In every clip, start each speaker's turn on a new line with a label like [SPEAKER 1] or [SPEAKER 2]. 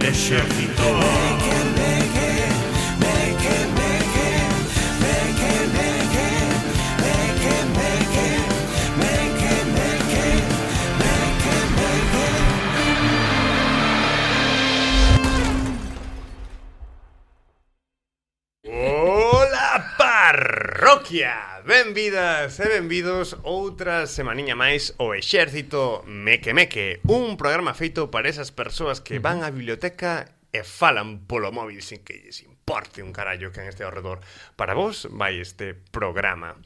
[SPEAKER 1] ejército. Hola parroquia, benvidas e benvidos outra semaniña máis o Exército Meque Meque Un programa feito para esas persoas que van á biblioteca e falan polo móvil sin que lles importe un carallo que este ao redor Para vos vai este programa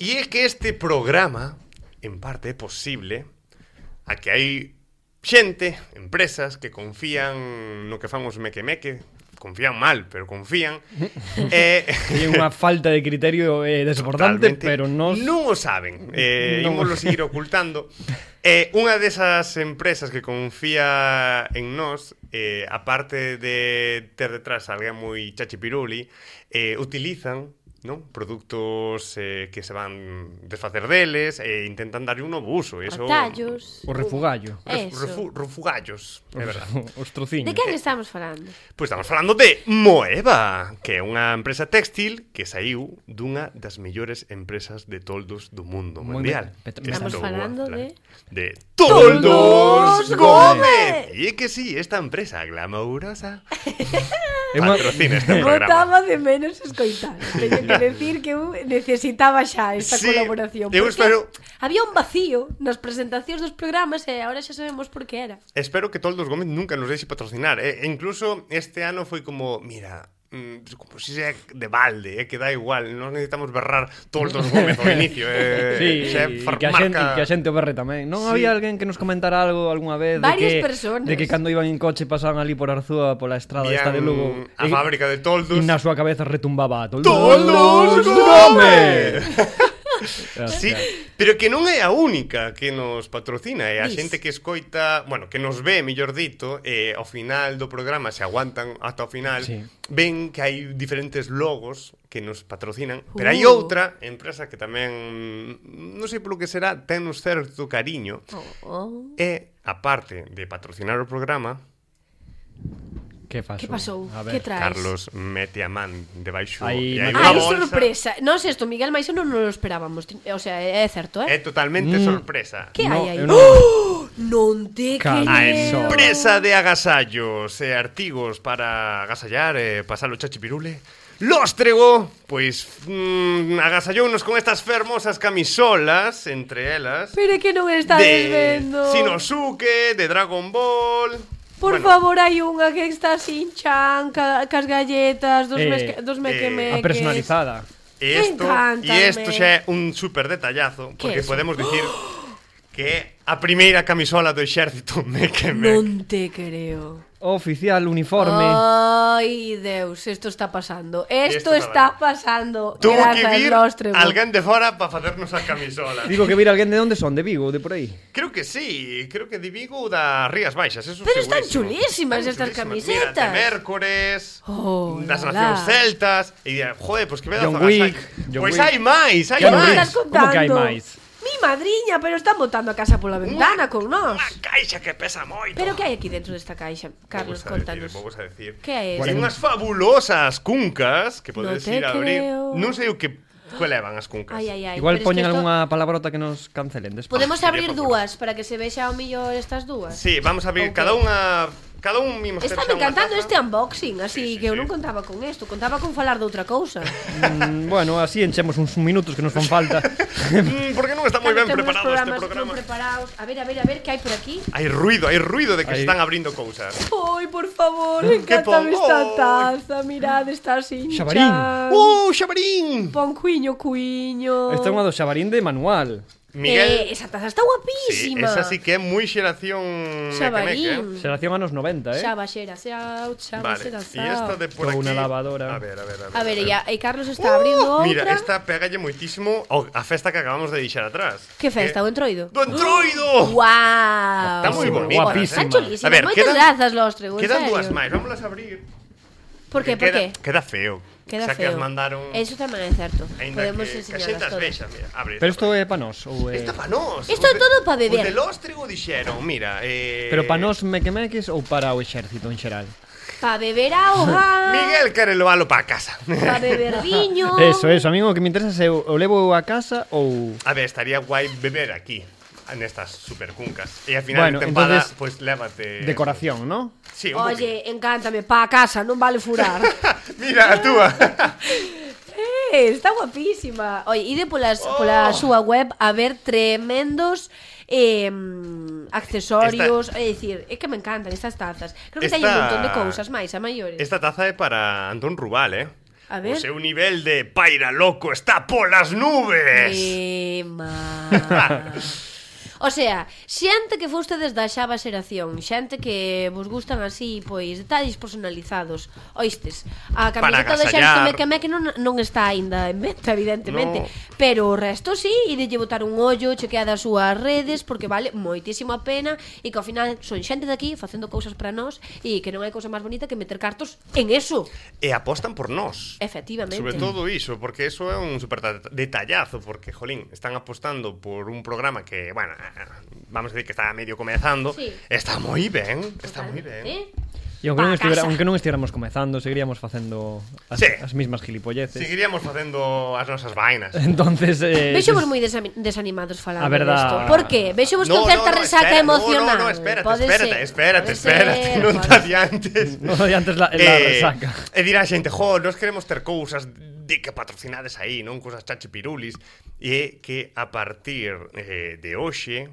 [SPEAKER 1] E é que este programa, en parte, é posible a que hai xente, empresas que confían no que fan os meque meque, confían mal, pero confían. eh,
[SPEAKER 2] Hay una falta de criterio eh, desoportante,
[SPEAKER 1] totalmente
[SPEAKER 2] pero no...
[SPEAKER 1] non o saben. Eh,
[SPEAKER 2] Non.
[SPEAKER 1] Imoslo seguir ocultando. Eh, unha desas empresas que confía en nós, eh, aparte de ter detrás alguén moi chachipiruli, eh, utilizan non? produtos eh, que se van desfacer deles e intentan darlle un novo uso. Eso,
[SPEAKER 3] Atallos.
[SPEAKER 2] O refugallo.
[SPEAKER 1] Ref-
[SPEAKER 3] Eso.
[SPEAKER 1] refu- eh, refugallos, é verdad.
[SPEAKER 2] Os trociños.
[SPEAKER 3] De quen estamos falando?
[SPEAKER 1] Pois estamos falando de Moeva, que é unha empresa textil que saiu dunha das mellores empresas de toldos do mundo
[SPEAKER 2] Moi
[SPEAKER 1] mundial.
[SPEAKER 2] ben. Petro-
[SPEAKER 1] Esta
[SPEAKER 3] Estamos
[SPEAKER 1] boa,
[SPEAKER 3] falando
[SPEAKER 1] claro.
[SPEAKER 3] de-
[SPEAKER 1] De Toldos
[SPEAKER 3] Toldos
[SPEAKER 1] Gómez!
[SPEAKER 3] Gómez.
[SPEAKER 1] E é que sí, esta empresa glamourosa
[SPEAKER 2] É unha-
[SPEAKER 1] patrocina este programa.
[SPEAKER 3] Botaba de menos escoitar. Teño que decir que eu necesitaba xa esta
[SPEAKER 1] Sí,
[SPEAKER 3] colaboración.
[SPEAKER 1] eu
[SPEAKER 3] porque
[SPEAKER 1] espero-
[SPEAKER 3] Había un vacío nas presentacións dos programas e agora xa sabemos por que era.
[SPEAKER 1] Espero que Toldos Gómez nunca nos deixe patrocinar. E, e incluso este ano foi como, mira, mm, como si sea de balde, eh, que da igual, non necesitamos berrar Toldos Gómez ao inicio. Eh,
[SPEAKER 2] Sí,
[SPEAKER 1] xa é
[SPEAKER 2] e
[SPEAKER 1] far-
[SPEAKER 2] que a xente,
[SPEAKER 1] marca-
[SPEAKER 2] e que a xente o berre tamén. Non
[SPEAKER 1] Sí.
[SPEAKER 2] había alguén que nos comentara algo algunha vez
[SPEAKER 3] Varias
[SPEAKER 2] de que
[SPEAKER 3] personas.
[SPEAKER 2] de que cando iban en coche pasaban ali por Arzúa pola estrada
[SPEAKER 1] Vían
[SPEAKER 2] esta de Lugo.
[SPEAKER 1] a
[SPEAKER 2] e-
[SPEAKER 1] fábrica de toldos.
[SPEAKER 2] E na súa cabeza retumbaba Toldos,
[SPEAKER 1] ¡Toldos Gómez!
[SPEAKER 2] Ah,
[SPEAKER 1] Sí,
[SPEAKER 2] claro.
[SPEAKER 1] pero que non é a única que nos patrocina, é a
[SPEAKER 3] Dis.
[SPEAKER 1] xente que escoita, bueno, que nos ve, mellor dito, eh, ao final do programa, se aguantan ata o final,
[SPEAKER 2] Sí.
[SPEAKER 1] ven que hai diferentes logos que nos patrocinan, pero
[SPEAKER 3] Uh.
[SPEAKER 1] hai outra empresa que tamén, non sei polo que será, ten un certo cariño,
[SPEAKER 3] Oh,
[SPEAKER 1] e, aparte de patrocinar o programa,
[SPEAKER 2] Que pasou?
[SPEAKER 3] que pasou?
[SPEAKER 2] A ver.
[SPEAKER 3] Que traes?
[SPEAKER 1] Carlos mete a man debaixo e
[SPEAKER 2] Aí,
[SPEAKER 1] hai
[SPEAKER 2] Manuel.
[SPEAKER 1] unha
[SPEAKER 3] Ai,
[SPEAKER 1] bolsa.
[SPEAKER 3] sorpresa. Non sei isto, Miguel, mais eu non o esperábamos. Ti- O sea, é certo,
[SPEAKER 1] É
[SPEAKER 3] eh?
[SPEAKER 1] totalmente
[SPEAKER 2] Mm.
[SPEAKER 1] sorpresa.
[SPEAKER 3] Que
[SPEAKER 2] No,
[SPEAKER 3] hai aí?
[SPEAKER 2] eu non-
[SPEAKER 3] ¡Oh! Non te
[SPEAKER 2] Cal-
[SPEAKER 1] A
[SPEAKER 2] Eso.
[SPEAKER 3] creo.
[SPEAKER 1] empresa de agasallos e artigos para agasallar e pasar o chachipirule Lóstrego, pois mm, agasallounos con estas fermosas camisolas, entre elas
[SPEAKER 3] Pero é que non estades vendo.
[SPEAKER 1] Shinosuke, de Dragon Ball
[SPEAKER 3] Por
[SPEAKER 1] Bueno,
[SPEAKER 3] favor, hai unha que está sin chan, ca, cas galletas, dos,
[SPEAKER 2] Eh,
[SPEAKER 3] mesque, dos
[SPEAKER 1] eh,
[SPEAKER 3] mequemeques.
[SPEAKER 2] A personalizada.
[SPEAKER 1] E esto,
[SPEAKER 3] Encántame.
[SPEAKER 1] e esto xa é un super detallazo Porque
[SPEAKER 3] Que eso?
[SPEAKER 1] podemos dicir que é a primeira camisola do exército Meque Meque
[SPEAKER 3] Non te creo.
[SPEAKER 2] Oficial
[SPEAKER 3] Oh.
[SPEAKER 2] uniforme.
[SPEAKER 3] Ai, Deus, isto está pasando.
[SPEAKER 1] Esto
[SPEAKER 3] Isto está
[SPEAKER 1] está
[SPEAKER 3] pasando.
[SPEAKER 1] Tuvo que
[SPEAKER 3] Gracias,
[SPEAKER 1] vir
[SPEAKER 3] Lóstrego.
[SPEAKER 1] alguén de fora para facernos a camisola
[SPEAKER 2] Digo que vir alguén de onde son, de Vigo, ou de por aí.
[SPEAKER 1] Creo que sí, creo que de Vigo ou das Rías Baixas, eso
[SPEAKER 3] Pero están
[SPEAKER 1] segurísimo.
[SPEAKER 3] chulísimas
[SPEAKER 1] Mira, de
[SPEAKER 3] estas camisetas.
[SPEAKER 1] Mércores,
[SPEAKER 3] Oh,
[SPEAKER 1] das
[SPEAKER 3] la,
[SPEAKER 1] Nacións
[SPEAKER 3] la.
[SPEAKER 1] Celtas, e dirán, joder, pois pues que me
[SPEAKER 2] John Wick, John
[SPEAKER 1] Pois
[SPEAKER 2] Wick.
[SPEAKER 1] hai máis, hai
[SPEAKER 3] Que
[SPEAKER 2] John
[SPEAKER 3] me
[SPEAKER 1] máis.
[SPEAKER 2] Wick.
[SPEAKER 3] estás
[SPEAKER 2] Como que
[SPEAKER 3] contando?
[SPEAKER 2] hai máis?
[SPEAKER 3] Mi madriña, pero están botando a casa pola ventana con nós.
[SPEAKER 1] Unha caixa que pesa moito.
[SPEAKER 3] Pero que hai aquí dentro desta caixa? Carlos,
[SPEAKER 1] Vamos a decir,
[SPEAKER 3] contanos.
[SPEAKER 1] Vamos a decir.
[SPEAKER 3] Que é
[SPEAKER 1] Hai
[SPEAKER 3] isto?
[SPEAKER 1] unhas fabulosas cuncas que podes
[SPEAKER 3] te
[SPEAKER 1] ir a abrir.
[SPEAKER 3] creo.
[SPEAKER 1] Non sei o que cuelevan as cuncas.
[SPEAKER 3] Ai, ai, ai.
[SPEAKER 2] Igual
[SPEAKER 3] pero es que
[SPEAKER 2] poñen
[SPEAKER 3] esto-
[SPEAKER 2] algunha palabrota que nos cancelen despois.
[SPEAKER 3] Podemos
[SPEAKER 1] Ah, sería
[SPEAKER 3] abrir
[SPEAKER 1] fabuloso.
[SPEAKER 3] dúas para que se vexa ao mellor estas dúas.
[SPEAKER 1] Sí, vamos a abrir
[SPEAKER 3] Ok.
[SPEAKER 1] cada unha cada un mimos
[SPEAKER 3] Está
[SPEAKER 1] terxa
[SPEAKER 3] me
[SPEAKER 1] unha
[SPEAKER 3] encantando
[SPEAKER 1] taza.
[SPEAKER 3] este unboxing, así
[SPEAKER 1] Sí, sí,
[SPEAKER 3] que eu
[SPEAKER 1] sí.
[SPEAKER 3] non contaba con isto, contaba con falar de outra cousa.
[SPEAKER 2] Mm, bueno, así enchemos uns minutos que nos fan falta.
[SPEAKER 1] Mm, porque non está moi ben
[SPEAKER 3] Claro, temos
[SPEAKER 1] preparado este
[SPEAKER 3] programas
[SPEAKER 1] programa.
[SPEAKER 3] non preparados. A ver, a ver, a ver, que hai por aquí?
[SPEAKER 1] Hai ruido, hai ruido de que se
[SPEAKER 2] Hai-
[SPEAKER 1] están abrindo cousas.
[SPEAKER 3] Oi, por favor,
[SPEAKER 1] pon-
[SPEAKER 3] encántame esta
[SPEAKER 1] Oi.
[SPEAKER 3] taza, mirad, está sin
[SPEAKER 2] Xabarín.
[SPEAKER 3] chan.
[SPEAKER 1] ¡Uh, Xabarín!
[SPEAKER 3] Pon cuiño, cuiño.
[SPEAKER 2] Esta é unha do xabarín de manual.
[SPEAKER 3] Eh,
[SPEAKER 1] Miguel,
[SPEAKER 3] esa taza está
[SPEAKER 1] sí,
[SPEAKER 3] guapísima.
[SPEAKER 1] esa sí que é moi xeración meque-meque, eh.
[SPEAKER 3] Xabarín.
[SPEAKER 2] Xeración anos 90, eh?
[SPEAKER 3] Xaba, xera, xau, xaba,
[SPEAKER 1] Vale,
[SPEAKER 3] xera,
[SPEAKER 1] e esta de por
[SPEAKER 2] Toda
[SPEAKER 1] aquí...
[SPEAKER 2] una lavadora.
[SPEAKER 1] A ver, a ver, a ver.
[SPEAKER 3] A ver, e, a, e Carlos
[SPEAKER 1] Uh,
[SPEAKER 3] está abrindo outra.
[SPEAKER 1] Mira, esta pegalle moitísimo ao- Oh, a festa que acabamos de deixar atrás.
[SPEAKER 3] Que festa, o
[SPEAKER 1] Que-
[SPEAKER 3] entroido?
[SPEAKER 1] Do entroido!
[SPEAKER 3] Guau.
[SPEAKER 1] Oh. Está moi
[SPEAKER 2] Guapísima,
[SPEAKER 1] bonita.
[SPEAKER 2] guapísima.
[SPEAKER 3] Están chulísimas.
[SPEAKER 1] A ver,
[SPEAKER 3] Moitas
[SPEAKER 1] quedan-
[SPEAKER 3] grazas, Lóstrego, en
[SPEAKER 1] Quedan
[SPEAKER 3] serio.
[SPEAKER 1] dúas máis, vámolas a abrir.
[SPEAKER 3] Por
[SPEAKER 1] porque
[SPEAKER 3] que, por
[SPEAKER 1] queda,
[SPEAKER 3] que?
[SPEAKER 1] Queda feo.
[SPEAKER 3] Queda
[SPEAKER 1] Xa que
[SPEAKER 3] feo.
[SPEAKER 1] as mandaron...
[SPEAKER 3] Eso tamén é certo.
[SPEAKER 1] Ainda
[SPEAKER 3] Podemos
[SPEAKER 1] que, que a xente as
[SPEAKER 3] enseñarlas todas.
[SPEAKER 1] vexa, mira. Abre
[SPEAKER 2] Pero isto é pa nós ou é
[SPEAKER 1] Isto pa nós.
[SPEAKER 3] Isto é todo pa
[SPEAKER 1] Os
[SPEAKER 3] beber.
[SPEAKER 1] de Lóstrego dixeron, mira... Eh...
[SPEAKER 2] Pero pa nós mequemeques ou para o exército en xeral?
[SPEAKER 3] Pa beber auga,
[SPEAKER 1] Miguel quere leválo para casa.
[SPEAKER 3] pa beber viño.
[SPEAKER 2] Eso, eso, a mí o que me interesa se eu o levo a casa ou...
[SPEAKER 1] A ver, estaría guai beber aquí, nestas supercuncas. E a final
[SPEAKER 2] Bueno,
[SPEAKER 1] de tempada,
[SPEAKER 2] entonces,
[SPEAKER 1] pois lévate...
[SPEAKER 2] Decoración, ¿no?
[SPEAKER 1] Sí, un
[SPEAKER 3] Oye, encántame, pa casa, non vale furar.
[SPEAKER 1] poquinho. Mira, a túa.
[SPEAKER 3] Eh, está guapísima. Oye, ide polas,
[SPEAKER 1] Oh.
[SPEAKER 3] pola súa web a ver tremendos eh, accesorios, é dicir, é que me encantan estas tazas. Creo que
[SPEAKER 1] Esta-
[SPEAKER 3] teñen un montón de cousas máis, a maiores.
[SPEAKER 1] Esta taza é para Antón Rubal, eh?
[SPEAKER 3] A
[SPEAKER 1] O
[SPEAKER 3] ver.
[SPEAKER 1] seu nivel de paira loco está polas nubes.
[SPEAKER 3] Tema. Eh, O sea, xente que fostedes da xaba xeración, xente que vos gustan así, pois, detalles personalizados, oistes, a camiseta do xerxo
[SPEAKER 1] agasallar.
[SPEAKER 3] Meque Meque non, non está aínda en venta, evidentemente,
[SPEAKER 1] No.
[SPEAKER 3] no. pero o resto sí, e de botar un ollo, chequead as súas redes, porque vale moitísimo a pena, e que ao final son xente de aquí facendo cousas para nós, e que non hai cousa máis bonita que meter cartos en eso,
[SPEAKER 1] E apostan por nós.
[SPEAKER 3] efectivamente.
[SPEAKER 1] Sobre todo iso, porque eso é un super ta- detallazo, porque, jolín, están apostando por un programa que, bueno, vamos a decir que está medio comezando,
[SPEAKER 3] Sí.
[SPEAKER 1] está moi ben, está moi ben.
[SPEAKER 2] E
[SPEAKER 3] Eh?
[SPEAKER 2] aunque non,
[SPEAKER 3] Pa
[SPEAKER 2] estivera,
[SPEAKER 3] casa.
[SPEAKER 2] aunque non estivéramos comezando, seguiríamos facendo as,
[SPEAKER 1] Sí.
[SPEAKER 2] as mismas gilipolleces.
[SPEAKER 1] Seguiríamos facendo as nosas vainas.
[SPEAKER 2] Entonces, eh,
[SPEAKER 3] Vexovos moi desami- desanimados
[SPEAKER 2] A
[SPEAKER 3] falando
[SPEAKER 2] verdad.
[SPEAKER 3] disto. Por que? Vexovos con certa resaca
[SPEAKER 1] espera,
[SPEAKER 3] emocional.
[SPEAKER 1] No, no, espérate,
[SPEAKER 3] Pode
[SPEAKER 1] espérate,
[SPEAKER 3] ser,
[SPEAKER 1] espérate,
[SPEAKER 3] pode
[SPEAKER 1] espérate,
[SPEAKER 3] ser,
[SPEAKER 1] non te
[SPEAKER 3] pode ser.
[SPEAKER 1] adiantes. Eh,
[SPEAKER 2] non no, antes la, la resaca.
[SPEAKER 1] E dirá a xente, jo, nós queremos ter cousas de que patrocinades aí, non cousas chachi pirulis, e é que a partir eh, de hoxe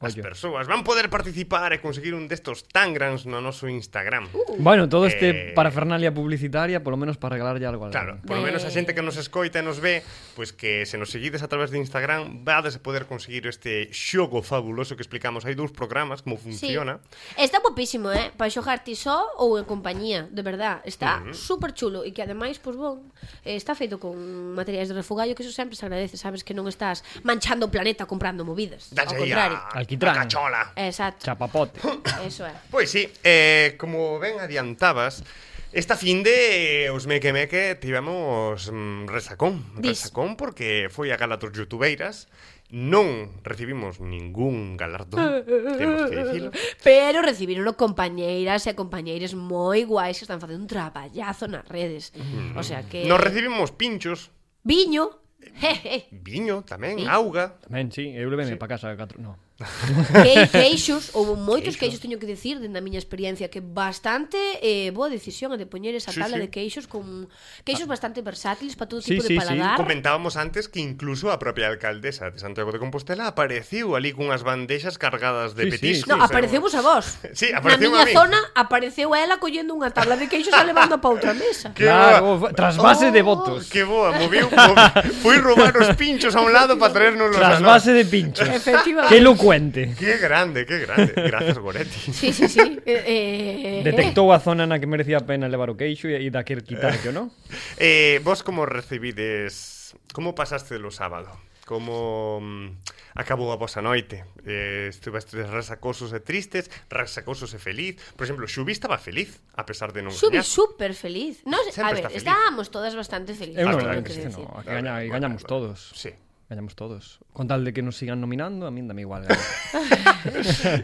[SPEAKER 1] as
[SPEAKER 2] Ollo.
[SPEAKER 1] persoas van poder participar e conseguir un destos tan grans no noso Instagram.
[SPEAKER 3] Uh,
[SPEAKER 2] Bueno, todo
[SPEAKER 1] Eh,
[SPEAKER 2] este parafernalia publicitaria, por lo menos para regalarlle algo a alguén.
[SPEAKER 1] Claro, por lo menos a xente que nos escoita e nos ve, pois que se nos seguides a través de Instagram, vades a poder conseguir este xogo fabuloso que explicamos. Hai dous programas como
[SPEAKER 3] Sí.
[SPEAKER 1] funciona.
[SPEAKER 3] Está guapísimo, eh? Para xogar ti só ou en compañía, de verdad. Está uh -huh. super chulo e que ademais, pois bon, eh, está feito con materiais de refugallo que eso sempre se agradece, sabes que non estás manchando o planeta comprando movidas.
[SPEAKER 1] Dache aí
[SPEAKER 3] ao contrario. Eh.
[SPEAKER 1] a, a
[SPEAKER 2] Alquitrán.
[SPEAKER 1] cachola.
[SPEAKER 3] Exacto.
[SPEAKER 2] Chapapote.
[SPEAKER 3] Eso é.
[SPEAKER 1] Pois sí, eh, como ben adiantabas, esta fin de eh, os meque meque tivemos mm, resacón,
[SPEAKER 3] Dis.
[SPEAKER 1] resacón porque foi a gala dos youtubeiras, non recibimos ningún galardón, temos que dicilo.
[SPEAKER 3] Pero recibiron compañeiras e compañeiros moi guais que están facendo un traballazo nas redes. O sea que
[SPEAKER 1] Nos recibimos pinchos,
[SPEAKER 3] viño, jeje,
[SPEAKER 1] viño tamén,
[SPEAKER 3] Sí.
[SPEAKER 1] auga,
[SPEAKER 2] Tamén, sí, eu leveme para casa catro... No.
[SPEAKER 3] que queixos, houve moitos
[SPEAKER 1] Queixos.
[SPEAKER 3] queixos, teño que dicir, dende a miña experiencia, que bastante eh, boa decisión a de poñer
[SPEAKER 1] Sí,
[SPEAKER 3] esa
[SPEAKER 1] sí.
[SPEAKER 3] tabla
[SPEAKER 1] Ah.
[SPEAKER 3] de queixos con queixos bastante versátiles para todo
[SPEAKER 2] Sí,
[SPEAKER 3] tipo
[SPEAKER 2] sí, sí.
[SPEAKER 3] de paladar.
[SPEAKER 1] Comentábamos antes que incluso a propia alcaldesa de Santiago de Compostela apareciu ali cunhas bandeixas cargadas de
[SPEAKER 2] Sí, sí,
[SPEAKER 1] petiscos. e
[SPEAKER 3] No, aparecemos a vos.
[SPEAKER 1] Sí,
[SPEAKER 3] Na
[SPEAKER 1] apareceu a
[SPEAKER 3] miña
[SPEAKER 1] min.
[SPEAKER 3] zona apareceu ela collendo unha tabla de queixos e levando pa outra mesa.
[SPEAKER 1] Que
[SPEAKER 2] claro,
[SPEAKER 1] boa.
[SPEAKER 2] trasvase de
[SPEAKER 3] Oh,
[SPEAKER 2] votos.
[SPEAKER 1] Que boa, moviu, moviu, fui robar os pinchos a un lado para traernos los
[SPEAKER 2] Trasvase de pinchos.
[SPEAKER 3] Efectivamente.
[SPEAKER 2] Qué elocuente.
[SPEAKER 1] Qué grande, qué grande. Gracias, Goretti.
[SPEAKER 3] Sí, sí, sí. Eh, eh, eh.
[SPEAKER 2] Detectou a zona na que merecía a pena levar o queixo e e da que quitar que, non?
[SPEAKER 1] Eh, vos como recibides... Como pasaste o sábado? Como mm, acabou a vosa noite? Eh, estuvestes resacosos e tristes, resacosos e feliz. Por exemplo, Xubi estaba feliz, a pesar de non
[SPEAKER 3] Xubi
[SPEAKER 1] gañar.
[SPEAKER 3] super feliz. eh, No, sé, a
[SPEAKER 1] Sempre
[SPEAKER 3] ver,
[SPEAKER 1] está feliz.
[SPEAKER 3] estábamos todas bastante
[SPEAKER 2] Eu
[SPEAKER 3] felices.
[SPEAKER 2] non,
[SPEAKER 1] Ah, claro
[SPEAKER 2] non,
[SPEAKER 1] que
[SPEAKER 2] que
[SPEAKER 1] sí,
[SPEAKER 2] este
[SPEAKER 3] decir.
[SPEAKER 2] non, que gaña,
[SPEAKER 1] Bueno,
[SPEAKER 2] gañamos
[SPEAKER 1] bueno,
[SPEAKER 2] todos.
[SPEAKER 1] Sí.
[SPEAKER 2] Gañamos todos. Con tal de que nos sigan nominando, a min dame igual. gañar.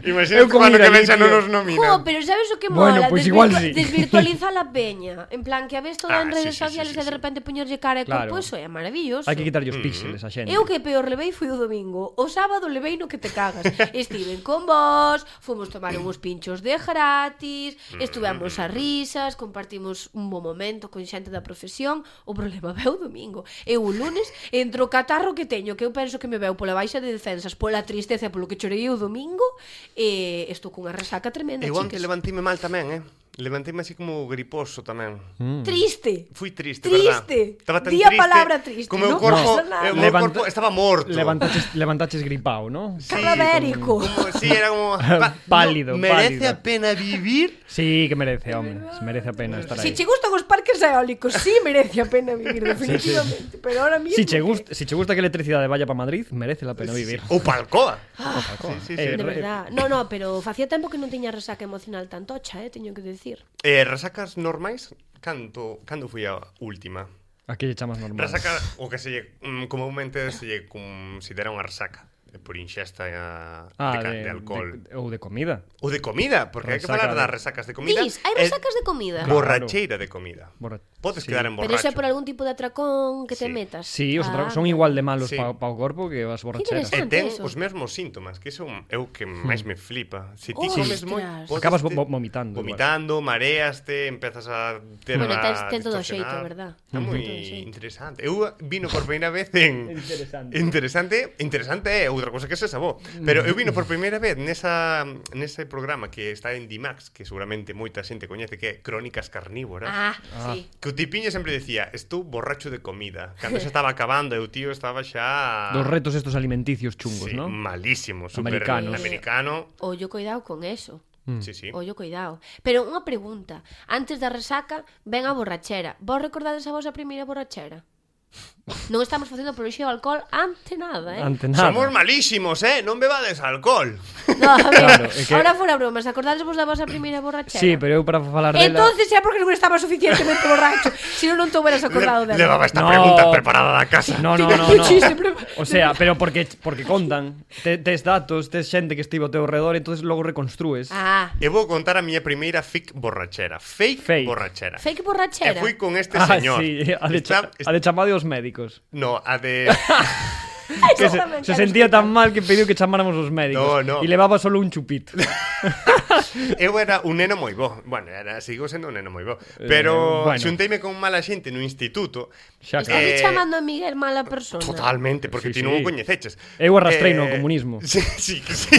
[SPEAKER 1] Imagínate
[SPEAKER 2] Eu como
[SPEAKER 1] cando
[SPEAKER 2] ir
[SPEAKER 1] que
[SPEAKER 2] ali,
[SPEAKER 1] ven xa non
[SPEAKER 2] tío.
[SPEAKER 1] nos nominan.
[SPEAKER 3] Jo, pero sabes o que mola?
[SPEAKER 2] Bueno, pois igual sí.
[SPEAKER 3] Desvirtualiza la peña. En plan, que a ves toda
[SPEAKER 1] Ah, sí,
[SPEAKER 3] en redes
[SPEAKER 1] sí, sí,
[SPEAKER 3] sociales
[SPEAKER 1] sí,
[SPEAKER 3] e de
[SPEAKER 1] sí.
[SPEAKER 3] repente poñerlle cara e
[SPEAKER 2] Claro.
[SPEAKER 3] corpo, eso é maravilloso.
[SPEAKER 2] Hai que quitarlle
[SPEAKER 1] Mm-hmm.
[SPEAKER 2] os píxeles a xente.
[SPEAKER 3] Eu que peor levei foi o domingo O sábado levei no que te cagas Estiven con vos Fomos tomar uns pinchos de gratis Estuvemos a risas Compartimos un bo momento con xente da profesión O problema veu o domingo Eu o lunes entre o catarro que teño Que eu penso que me veu pola baixa de defensas Pola tristeza e polo que chorei o domingo E estou cunha resaca tremenda
[SPEAKER 1] Eu antes
[SPEAKER 3] chiques.
[SPEAKER 1] levantíme mal tamén, eh? Levantíme así como griposo tamén.
[SPEAKER 2] Hmm. Mm.
[SPEAKER 3] Triste
[SPEAKER 1] Fui triste,
[SPEAKER 3] Triste.
[SPEAKER 1] verdad? Estaba tan
[SPEAKER 3] Di a
[SPEAKER 1] triste.
[SPEAKER 3] palabra triste,
[SPEAKER 1] Como o
[SPEAKER 3] non
[SPEAKER 1] corpo,
[SPEAKER 3] pasa
[SPEAKER 1] o
[SPEAKER 3] nada.
[SPEAKER 1] meu
[SPEAKER 2] Levanta-
[SPEAKER 1] corpo estaba morto.
[SPEAKER 2] Levantaches, levantaches gripao, non?
[SPEAKER 1] Sí,
[SPEAKER 3] Carradérico
[SPEAKER 1] Como, sí, era como... pa-
[SPEAKER 2] Pálido,
[SPEAKER 1] no, ¿Merece
[SPEAKER 2] pálido.
[SPEAKER 1] a pena vivir?
[SPEAKER 2] Sí, que merece, home. Merece a pena estar aí.
[SPEAKER 3] Se che gustan os parques eólicos, sí merece a pena vivir definitivamente, pero ahora mismo
[SPEAKER 2] Si che gusta, si che gusta que a electricidade vaya para Madrid, merece la pena vivir.
[SPEAKER 1] O palcoa.
[SPEAKER 3] Ah,
[SPEAKER 1] sí, sí,
[SPEAKER 2] Eh,
[SPEAKER 3] De
[SPEAKER 2] re-
[SPEAKER 3] verdad. No, no, pero facía tempo que non tiña resaca emocional tan tocha, eh, teño que decir.
[SPEAKER 1] Eh, resacas normais? Canto, cando foi a última?
[SPEAKER 2] Aquí lle chamas normal.
[SPEAKER 1] Resaca, o que se lle, mm, comúnmente se lle considera unha resaca. por inxesta eh, de,
[SPEAKER 2] Ah,
[SPEAKER 1] ca- de alcohol.
[SPEAKER 2] de- ou de comida.
[SPEAKER 1] Ou de comida, porque hai que
[SPEAKER 2] Resaca
[SPEAKER 1] falar das
[SPEAKER 2] de-
[SPEAKER 1] resacas de comida.
[SPEAKER 3] Dis, hai
[SPEAKER 1] e
[SPEAKER 3] resacas de comida.
[SPEAKER 2] Claro.
[SPEAKER 1] Borracheira de comida.
[SPEAKER 2] Borra-
[SPEAKER 1] Podes
[SPEAKER 2] sí.
[SPEAKER 1] quedar en
[SPEAKER 3] Pero
[SPEAKER 1] borracho.
[SPEAKER 3] ese por algún tipo de atracón que te
[SPEAKER 1] Sí.
[SPEAKER 3] metas.
[SPEAKER 2] Sí, os ah,
[SPEAKER 3] Ah,
[SPEAKER 2] son igual de malos
[SPEAKER 1] Sí.
[SPEAKER 2] sí. pa, pa o corpo que as borracheras.
[SPEAKER 1] E
[SPEAKER 3] interesante.
[SPEAKER 1] ten
[SPEAKER 3] eso.
[SPEAKER 1] os mesmos síntomas, que son é o que máis me flipa. Se ti
[SPEAKER 3] Ostras.
[SPEAKER 1] comes moi, podes
[SPEAKER 2] Hmm. Acabas vo-
[SPEAKER 1] te-
[SPEAKER 2] vo- vomitando,
[SPEAKER 1] Vomitando, mareaste, empezas a ter
[SPEAKER 3] Bueno,
[SPEAKER 1] a
[SPEAKER 3] tens- ten todo o
[SPEAKER 1] distorsionar.
[SPEAKER 3] xeito, verdad?
[SPEAKER 1] É moi
[SPEAKER 3] Ten todo o xeito.
[SPEAKER 1] interesante. Eu vino por primeira vez en
[SPEAKER 2] Interesante.
[SPEAKER 1] Interesante, interesante é outra cousa que se sabó, pero eu vino por primeira vez nesa nese programa que está en Dimax, que seguramente moita xente coñece que é Crónicas Carnívoras.
[SPEAKER 3] Ah, sí.
[SPEAKER 1] Que o tipiño sempre decía, estou borracho de comida. Cando xa estaba acabando e o tío estaba xa...
[SPEAKER 2] Dos retos estos alimenticios chungos,
[SPEAKER 1] sí, Mm.
[SPEAKER 2] ¿no?
[SPEAKER 1] Malísimo, super
[SPEAKER 2] Americanos.
[SPEAKER 1] americano.
[SPEAKER 3] Ollo cuidado con eso.
[SPEAKER 1] Sí, sí.
[SPEAKER 3] Ollo cuidado. Pero unha pregunta, antes da resaca ven a borrachera. Vos recordades a vosa primeira borrachera? Non estamos facendo apoloxía ao alcohol ante nada, eh?
[SPEAKER 2] Ante nada.
[SPEAKER 1] Somos malísimos, eh? Non bebades alcohol.
[SPEAKER 3] No, a ver,
[SPEAKER 2] Claro, é que-
[SPEAKER 3] ahora fora bromas, acordades vos da vosa primeira borrachera?
[SPEAKER 2] Sí, pero eu para falar dela...
[SPEAKER 3] Entonces é porque non estaba suficientemente borracho, se non non te hubieras acordado
[SPEAKER 1] Le-
[SPEAKER 3] dela.
[SPEAKER 1] Levaba esta
[SPEAKER 2] No.
[SPEAKER 1] pregunta preparada da casa.
[SPEAKER 2] No, no,
[SPEAKER 3] Tiña
[SPEAKER 2] no,
[SPEAKER 3] que
[SPEAKER 2] no.
[SPEAKER 3] chiste, pero-
[SPEAKER 2] O sea, pero porque porque contan, te, tes datos, tes xente que estivo ao teu redor, entonces logo reconstrúes.
[SPEAKER 3] Ah,
[SPEAKER 1] E vou contar a miña primeira fake borrachera. Fake,
[SPEAKER 2] Fake.
[SPEAKER 1] borrachera.
[SPEAKER 3] fake
[SPEAKER 1] E
[SPEAKER 3] borrachera.
[SPEAKER 1] fui con este
[SPEAKER 2] Ah,
[SPEAKER 1] señor.
[SPEAKER 2] sí, a de,
[SPEAKER 1] Está-
[SPEAKER 2] cha, a de chamade aos médicos.
[SPEAKER 1] No, a de...
[SPEAKER 2] Que se, se sentía tan mal que pediu que chamáramos os médicos
[SPEAKER 1] No, no.
[SPEAKER 2] e levaba solo un chupito.
[SPEAKER 1] Eu era un neno moi bo. Bueno, era, sigo sendo un neno moi bo. Pero eh,
[SPEAKER 2] Eh, bueno.
[SPEAKER 1] xunteime con mala xente no instituto.
[SPEAKER 2] Xa,
[SPEAKER 3] Estás
[SPEAKER 2] claro.
[SPEAKER 1] Eh,
[SPEAKER 3] chamando a Miguel mala persona.
[SPEAKER 1] Totalmente, porque ti
[SPEAKER 2] Sí, sí.
[SPEAKER 1] non o coñeceches. Eh,
[SPEAKER 2] Eu arrastrei no comunismo.
[SPEAKER 1] Sí, sí, que sí.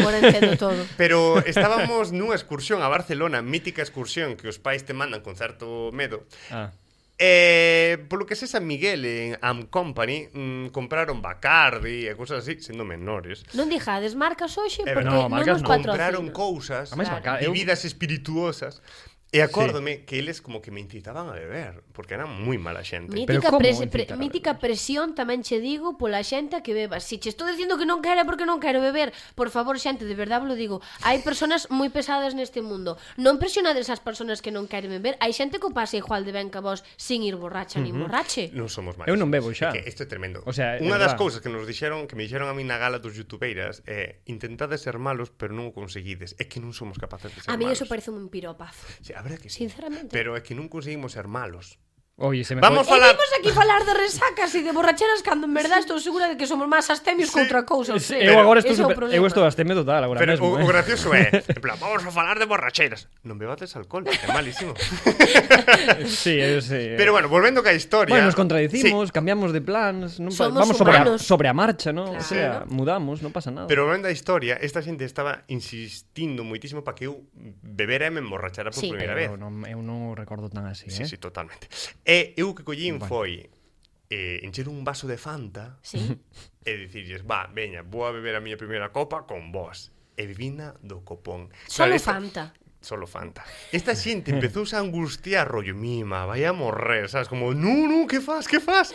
[SPEAKER 3] Agora entendo todo.
[SPEAKER 1] Pero estábamos nunha excursión a Barcelona, mítica excursión que os pais te mandan con certo medo.
[SPEAKER 2] Ah.
[SPEAKER 1] Eh, polo que se San Miguel en Am Company mm, compraron Bacardi e cousas así, sendo menores.
[SPEAKER 3] Non dixades marcas hoxe
[SPEAKER 1] Eh,
[SPEAKER 3] porque
[SPEAKER 2] no,
[SPEAKER 3] non
[SPEAKER 2] marcas
[SPEAKER 3] nos
[SPEAKER 2] non.
[SPEAKER 1] Compraron
[SPEAKER 3] patrocinan.
[SPEAKER 1] cousas, eh,
[SPEAKER 2] A máis Bacardi, eu-
[SPEAKER 1] bebidas espirituosas. E acórdome que eles como que me incitaban a beber, porque eran moi mala xente.
[SPEAKER 2] Pero
[SPEAKER 3] Mítica,
[SPEAKER 2] como
[SPEAKER 3] pres
[SPEAKER 2] incita
[SPEAKER 3] pre
[SPEAKER 2] a beber?
[SPEAKER 3] mítica presión tamén che digo pola xente a que bebas. Si che estou dicindo que non quero é porque non quero beber, por favor, xente, de verdade vos lo digo. Hai personas moi pesadas neste mundo. Non presionades as personas que non queren beber. Hai xente que o pasa igual de ben que vos sin ir borracha nin borrache.
[SPEAKER 1] Non somos máis.
[SPEAKER 2] Eu non bebo xa.
[SPEAKER 1] É que isto é tremendo.
[SPEAKER 2] O sea, é
[SPEAKER 1] unha das
[SPEAKER 2] verdad.
[SPEAKER 1] cousas que nos dixeron, que me dixeron a mí na gala dos youtubeiras é intentades ser malos, pero non o conseguides. É que non somos capaces de ser
[SPEAKER 3] A mí
[SPEAKER 1] malos.
[SPEAKER 3] eso parece un piropazo.
[SPEAKER 1] Sí, a verdad que sí.
[SPEAKER 3] Sinceramente.
[SPEAKER 1] Pero é que non conseguimos ser malos.
[SPEAKER 2] Oye, se me
[SPEAKER 1] Vamos
[SPEAKER 2] foi-
[SPEAKER 3] E
[SPEAKER 1] falar...
[SPEAKER 3] vimos aquí falar de resacas e de borracheras cando en verdade estou segura de que somos máis astemios
[SPEAKER 1] Sí.
[SPEAKER 3] contra cousas.
[SPEAKER 2] Se- eu agora estou
[SPEAKER 3] Ese é o
[SPEAKER 2] super, eu
[SPEAKER 3] problema.
[SPEAKER 2] estou asteme total agora
[SPEAKER 1] Pero
[SPEAKER 2] mesmo.
[SPEAKER 1] o,
[SPEAKER 2] eh.
[SPEAKER 1] o gracioso é, en plan, vamos a falar de borracheras. Non bebades alcohol, é malísimo.
[SPEAKER 2] Sí, eu sei.
[SPEAKER 1] Pero bueno, volvendo ca historia.
[SPEAKER 2] Bueno, nos contradicimos, cambiamos de plans, non pa-
[SPEAKER 3] Somos
[SPEAKER 2] vamos sobre a,
[SPEAKER 3] humanos.
[SPEAKER 2] sobre a marcha, ¿no?
[SPEAKER 3] Claro.
[SPEAKER 2] O sea, mudamos, non pasa nada.
[SPEAKER 1] Pero volvendo á historia, esta xente estaba insistindo moitísimo para que eu bebera e me emborrachara por
[SPEAKER 3] Sí.
[SPEAKER 1] primeira vez.
[SPEAKER 2] eu, non, eu non o recordo tan así,
[SPEAKER 1] Sí,
[SPEAKER 2] eh.
[SPEAKER 1] sí, totalmente. E eu que collín
[SPEAKER 2] Bueno.
[SPEAKER 1] foi eh, encher un vaso de Fanta
[SPEAKER 3] Sí.
[SPEAKER 1] e dicirlles, va, veña, vou a beber a miña primeira copa con vos. E vina do copón.
[SPEAKER 3] Solo
[SPEAKER 1] Claro, esta-
[SPEAKER 3] Fanta.
[SPEAKER 1] Solo Fanta. Esta xente empezou a angustiar, rollo, mima, vai a morrer, sabes? Como, no, no, que fas, que fas?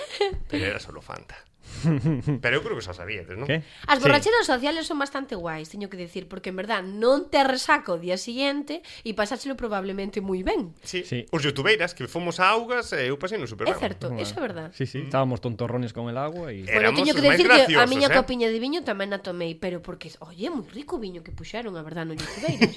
[SPEAKER 1] Pero era solo Fanta. Pero eu creo que xa sabíades, non?
[SPEAKER 2] Que?
[SPEAKER 3] As
[SPEAKER 2] Sí.
[SPEAKER 3] borracheras sociales son bastante guais, teño que decir, porque en verdad non te resaca o día siguiente e pasáchelo probablemente moi ben.
[SPEAKER 1] Sí. sí.
[SPEAKER 2] Sí.
[SPEAKER 1] Os youtubeiras que fomos a augas e eu pasei no
[SPEAKER 3] É
[SPEAKER 1] supermercado.
[SPEAKER 3] certo, eso é verdad.
[SPEAKER 2] Sí, sí,
[SPEAKER 1] Mm.
[SPEAKER 2] estábamos tontorrones con el agua y...
[SPEAKER 1] Eh,
[SPEAKER 3] Bueno,
[SPEAKER 1] Éramos
[SPEAKER 3] teño que
[SPEAKER 1] os máis
[SPEAKER 3] decir que a
[SPEAKER 1] graciosos,
[SPEAKER 3] miña
[SPEAKER 1] eh?
[SPEAKER 3] copiña de viño tamén a tomei, pero porque, oye, moi rico o viño que puxeron, a verdad, no youtubeiros.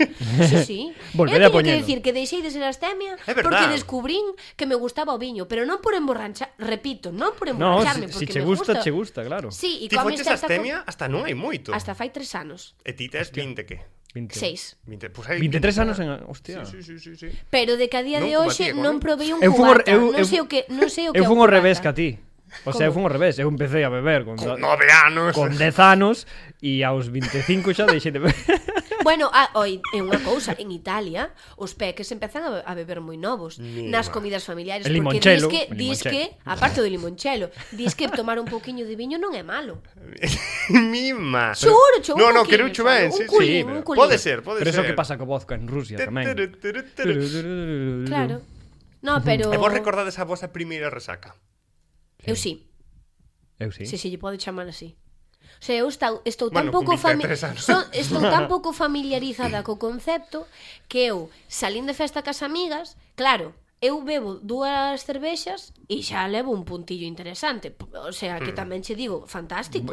[SPEAKER 3] sí, sí.
[SPEAKER 2] Volveré a
[SPEAKER 3] Eu teño que
[SPEAKER 2] poñelo.
[SPEAKER 3] decir que deixei de ser astemia
[SPEAKER 1] É verdad.
[SPEAKER 3] porque descubrín que me gustaba o viño, pero non por emborranchar, repito, non por
[SPEAKER 2] No,
[SPEAKER 3] emborrancharme,
[SPEAKER 2] si,
[SPEAKER 3] porque
[SPEAKER 2] si che
[SPEAKER 3] me
[SPEAKER 2] gusta,
[SPEAKER 3] gusta.
[SPEAKER 2] che gusta, claro.
[SPEAKER 3] Sí, e
[SPEAKER 1] Ti
[SPEAKER 3] comes
[SPEAKER 1] foches
[SPEAKER 3] certa
[SPEAKER 1] astemia hasta non hai moito.
[SPEAKER 3] co- hasta fai tres anos,
[SPEAKER 1] E ti tes 20 que?
[SPEAKER 2] 20.
[SPEAKER 3] seis.
[SPEAKER 1] 20, pues hai
[SPEAKER 2] 23
[SPEAKER 1] 20
[SPEAKER 2] anos en... Hostia.
[SPEAKER 1] Sí, sí, sí, sí.
[SPEAKER 3] Pero de que a día
[SPEAKER 1] Non
[SPEAKER 3] de hoxe
[SPEAKER 1] cubatiego, non?
[SPEAKER 3] non provei un
[SPEAKER 2] Eu fun ao-
[SPEAKER 3] cubata.
[SPEAKER 2] eu-
[SPEAKER 3] non
[SPEAKER 2] eu-
[SPEAKER 3] sei o que, non sei o que
[SPEAKER 2] Eu
[SPEAKER 3] é
[SPEAKER 2] fun ao
[SPEAKER 3] un
[SPEAKER 2] revés que a ti.
[SPEAKER 3] cubata.
[SPEAKER 2] O sea, eu fun
[SPEAKER 3] Como?
[SPEAKER 2] ao revés, eu empecé a beber con, da-
[SPEAKER 1] Nove anos.
[SPEAKER 2] con 10 anos e aos 25 xa deixei de beber.
[SPEAKER 3] Bueno, a, oi, é unha cousa, en Italia os peques empezan a, be- a beber moi novos
[SPEAKER 1] Mima.
[SPEAKER 3] nas comidas familiares
[SPEAKER 2] El
[SPEAKER 3] porque dis
[SPEAKER 2] limoncello,
[SPEAKER 3] que,
[SPEAKER 2] o
[SPEAKER 3] dis que,
[SPEAKER 2] limoncello.
[SPEAKER 3] aparte do limonchelo, dis que tomar un pouquiño de viño non é malo.
[SPEAKER 1] Mima.
[SPEAKER 3] Churo, churo,
[SPEAKER 1] No,
[SPEAKER 3] un
[SPEAKER 1] no,
[SPEAKER 3] poquinho,
[SPEAKER 1] que non ben.
[SPEAKER 3] solo,
[SPEAKER 1] Sí,
[SPEAKER 3] un
[SPEAKER 1] sí.
[SPEAKER 3] culín,
[SPEAKER 2] un
[SPEAKER 3] culín.
[SPEAKER 1] Pode ser, pode
[SPEAKER 2] Pero
[SPEAKER 1] ser.
[SPEAKER 2] eso que pasa co vodka en Rusia tamén.
[SPEAKER 1] Teru, teru, teru.
[SPEAKER 3] Claro. No, pero
[SPEAKER 1] E vos recordades a vosa primeira resaca?
[SPEAKER 3] eu sí.
[SPEAKER 2] Eu sí.
[SPEAKER 3] Se se lle pode chamar así. O sea, eu estou, estou
[SPEAKER 1] Bueno,
[SPEAKER 3] tan
[SPEAKER 1] con
[SPEAKER 3] pouco
[SPEAKER 1] 23 anos.
[SPEAKER 3] so, estou tan pouco familiarizada co concepto que eu salín de festa cas amigas, claro, eu bebo dúas cervexas e xa levo un puntillo interesante. P- O sea, que tamén che digo, fantástico.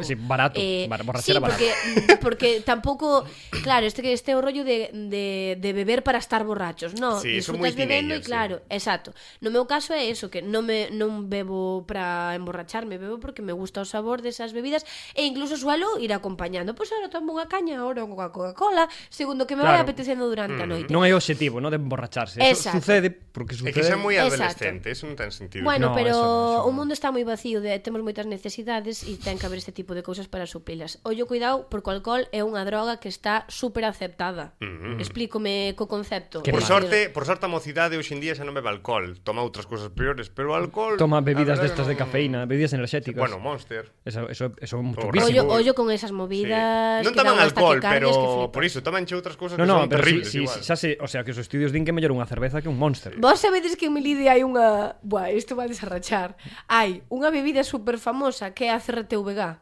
[SPEAKER 2] Hmm.
[SPEAKER 3] Eh,
[SPEAKER 2] Sí, barato, bar-
[SPEAKER 3] sí,
[SPEAKER 2] borrachera barata.
[SPEAKER 3] porque, porque tampouco, claro, este que este é o rollo de, de, de beber para estar borrachos. No,
[SPEAKER 1] Sí, son moi
[SPEAKER 3] disfrutas bebendo
[SPEAKER 1] teenagers,
[SPEAKER 3] e
[SPEAKER 1] sí.
[SPEAKER 3] claro, exacto. No meu caso é eso, que non me non bebo para emborracharme, bebo porque me gusta o sabor desas bebidas e incluso suelo ir acompañando. Pois pues ahora tomo unha caña, ahora unha Coca-Cola, segundo que me vai
[SPEAKER 2] Claro. Mm.
[SPEAKER 3] apetecendo durante a noite.
[SPEAKER 2] Non hai obxectivo, non de emborracharse. Eso
[SPEAKER 3] Exacto.
[SPEAKER 2] sucede porque
[SPEAKER 1] É
[SPEAKER 2] sucede.
[SPEAKER 1] que xa é moi
[SPEAKER 3] Exacto.
[SPEAKER 1] adolescente, eso non ten sentido.
[SPEAKER 3] Bueno,
[SPEAKER 2] No,
[SPEAKER 3] pero
[SPEAKER 2] eso non, eso
[SPEAKER 3] o
[SPEAKER 2] non.
[SPEAKER 3] mundo está moi vacío de temos moitas necesidades e ten que haber este tipo de cousas para suplilas. Ollo cuidado porque o alcohol é unha droga que está super aceptada.
[SPEAKER 1] Mm.
[SPEAKER 3] Explícome co concepto.
[SPEAKER 2] Mm-hmm. Que
[SPEAKER 1] Por
[SPEAKER 2] mal.
[SPEAKER 1] sorte, por sorte a mocidade hoxe en día xa non bebe alcohol, toma outras cousas peores, pero o alcohol
[SPEAKER 2] Toma
[SPEAKER 1] a
[SPEAKER 2] bebidas
[SPEAKER 1] verdade
[SPEAKER 2] destas de
[SPEAKER 1] non-
[SPEAKER 2] cafeína, bebidas enerxéticas.
[SPEAKER 1] Bueno, Monster.
[SPEAKER 2] eso eso eso é un
[SPEAKER 1] Borracho.
[SPEAKER 2] chupísimo.
[SPEAKER 3] Ollo,
[SPEAKER 1] Buenísimo.
[SPEAKER 3] ollo con
[SPEAKER 1] Sí.
[SPEAKER 3] esas movidas
[SPEAKER 1] Non
[SPEAKER 3] que dan
[SPEAKER 1] toman
[SPEAKER 3] unas
[SPEAKER 1] alcohol,
[SPEAKER 3] taquicardias que
[SPEAKER 1] pero
[SPEAKER 3] flipas.
[SPEAKER 1] por iso tomanche outras cousas que
[SPEAKER 2] No, no,
[SPEAKER 1] son
[SPEAKER 2] pero si,
[SPEAKER 1] terribles
[SPEAKER 2] si,
[SPEAKER 1] igual.
[SPEAKER 2] si, xa se, o sea, que os estudios din que é mellor unha cerveza que un Monster.
[SPEAKER 3] Vos sabedes que en Melide hai unha... Buah, isto va a desarrachar. Hai unha bebida super famosa que é a CRTVG.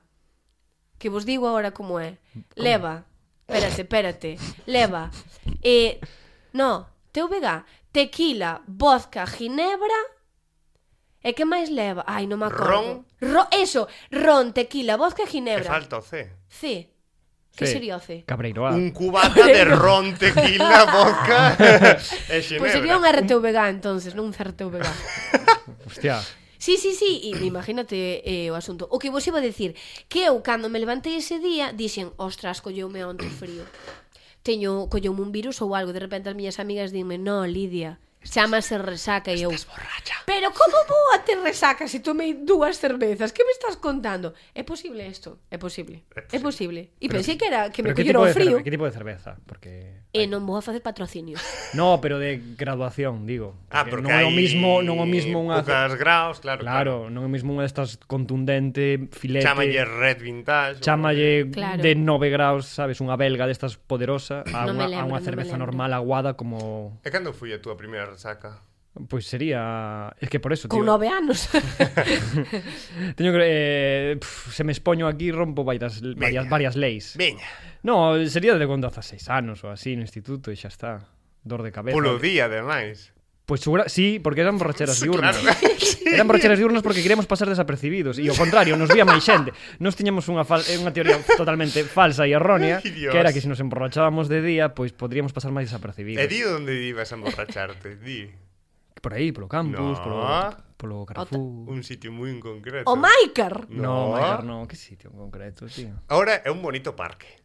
[SPEAKER 3] Que vos digo agora como é. Leva. Espérate, espérate. Leva. Eh, no, TVG. Tequila, vodka, ginebra... E que máis leva? Ai, non me acordo.
[SPEAKER 1] Ron.
[SPEAKER 3] Ro, eso, ron, tequila, vodka,
[SPEAKER 1] Que
[SPEAKER 3] ginebra.
[SPEAKER 1] falta o C.
[SPEAKER 3] C. Que
[SPEAKER 2] Sí.
[SPEAKER 3] sería o C?
[SPEAKER 2] Cabreiroa.
[SPEAKER 1] Un cubata de ron, tequila, vodka e ginebra.
[SPEAKER 3] Pois sería un RTVG entonces, non un CRTVG.
[SPEAKER 2] Hostia.
[SPEAKER 3] Sí, sí, sí, e imagínate eh, o asunto. O que vos iba a decir, que eu cando me levantei ese día, dixen, ostras, colleume onte o frío. Teño, colleume un virus ou algo, de repente as miñas amigas dime, no, Lidia, chamase resaca e eu... borracha. Pero como vou a ter resaca se tomei dúas cervezas? Que me estás contando? É posible isto, é posible, é posible. E pensei que era que
[SPEAKER 2] Pero
[SPEAKER 3] me
[SPEAKER 2] que tipo
[SPEAKER 3] collera o
[SPEAKER 2] de cerve-
[SPEAKER 3] frío.
[SPEAKER 2] Que tipo de cerveza? Porque
[SPEAKER 3] E non vou a facer patrocinios.
[SPEAKER 2] No, pero de graduación, digo.
[SPEAKER 1] Ah,
[SPEAKER 2] Porque
[SPEAKER 1] porque
[SPEAKER 2] non é o
[SPEAKER 1] hai
[SPEAKER 2] mismo, non é o mismo unha
[SPEAKER 1] Poucas graos, claro.
[SPEAKER 2] Claro, non é o mismo unha destas contundente, filete.
[SPEAKER 1] Chámalle red vintage.
[SPEAKER 2] chámalle
[SPEAKER 3] Claro.
[SPEAKER 2] de 9 graus, sabes, unha belga destas poderosa a
[SPEAKER 3] Non
[SPEAKER 2] unha,
[SPEAKER 3] me lembro,
[SPEAKER 2] a unha
[SPEAKER 3] non me
[SPEAKER 2] cerveza
[SPEAKER 3] lembro.
[SPEAKER 2] normal aguada como
[SPEAKER 1] E cando foi a túa primeira resaca?
[SPEAKER 2] pois sería, es que por eso, tío.
[SPEAKER 3] Con nove anos.
[SPEAKER 2] Teño que eh, pf, se me expoño aquí rompo varias varias varias leis.
[SPEAKER 1] Veña,
[SPEAKER 2] No, sería de cando 16 anos ou así no instituto e xa está. Dor de cabeza.
[SPEAKER 1] polo día, ademais.
[SPEAKER 2] Pois segura, sí, porque eran borracheras
[SPEAKER 1] Sí,
[SPEAKER 2] diurnas.
[SPEAKER 1] claro.
[SPEAKER 2] Eran borracheras diurnas porque queríamos pasar desapercibidos e ao contrario, nos vía máis xente. Nos tiñamos unha fal eh, unha teoría totalmente falsa e errónea,
[SPEAKER 1] Ay, Dios.
[SPEAKER 2] que era que se nos emborrachábamos de día, pois podríamos pasar máis desapercibidos.
[SPEAKER 1] E di onde ibas a emborracharte, di.
[SPEAKER 2] Por aí, polo campus,
[SPEAKER 1] No.
[SPEAKER 2] polo polo Carrefour.
[SPEAKER 1] Un sitio moi en concreto.
[SPEAKER 2] Oh,
[SPEAKER 3] o Maicar.
[SPEAKER 2] No,
[SPEAKER 1] No.
[SPEAKER 2] Maicar, no, que sitio en concreto, tío.
[SPEAKER 1] Ahora é un bonito parque.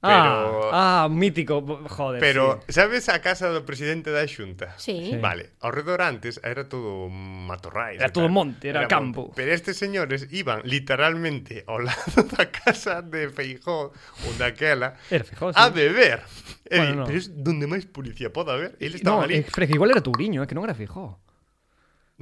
[SPEAKER 1] Pero...
[SPEAKER 2] Ah, ah, mítico, bo- joder.
[SPEAKER 1] Pero,
[SPEAKER 2] sí.
[SPEAKER 1] sabes a casa do presidente da xunta?
[SPEAKER 3] Sí.
[SPEAKER 1] Vale, ao redor antes era todo matorrais.
[SPEAKER 2] Era
[SPEAKER 1] e tal.
[SPEAKER 2] todo monte, era campo.
[SPEAKER 1] monte. Pero estes señores iban literalmente ao lado da casa de Feijó ou daquela
[SPEAKER 2] Era Feijóo, Ah,
[SPEAKER 1] a
[SPEAKER 2] sí.
[SPEAKER 1] beber. E di,
[SPEAKER 2] Bueno, no.
[SPEAKER 1] Pero es donde máis policía pode haber. Ele
[SPEAKER 2] No,
[SPEAKER 1] estaba
[SPEAKER 2] eh,
[SPEAKER 1] ali.
[SPEAKER 2] pero que igual era Touriño, eh, que non era Feijóo.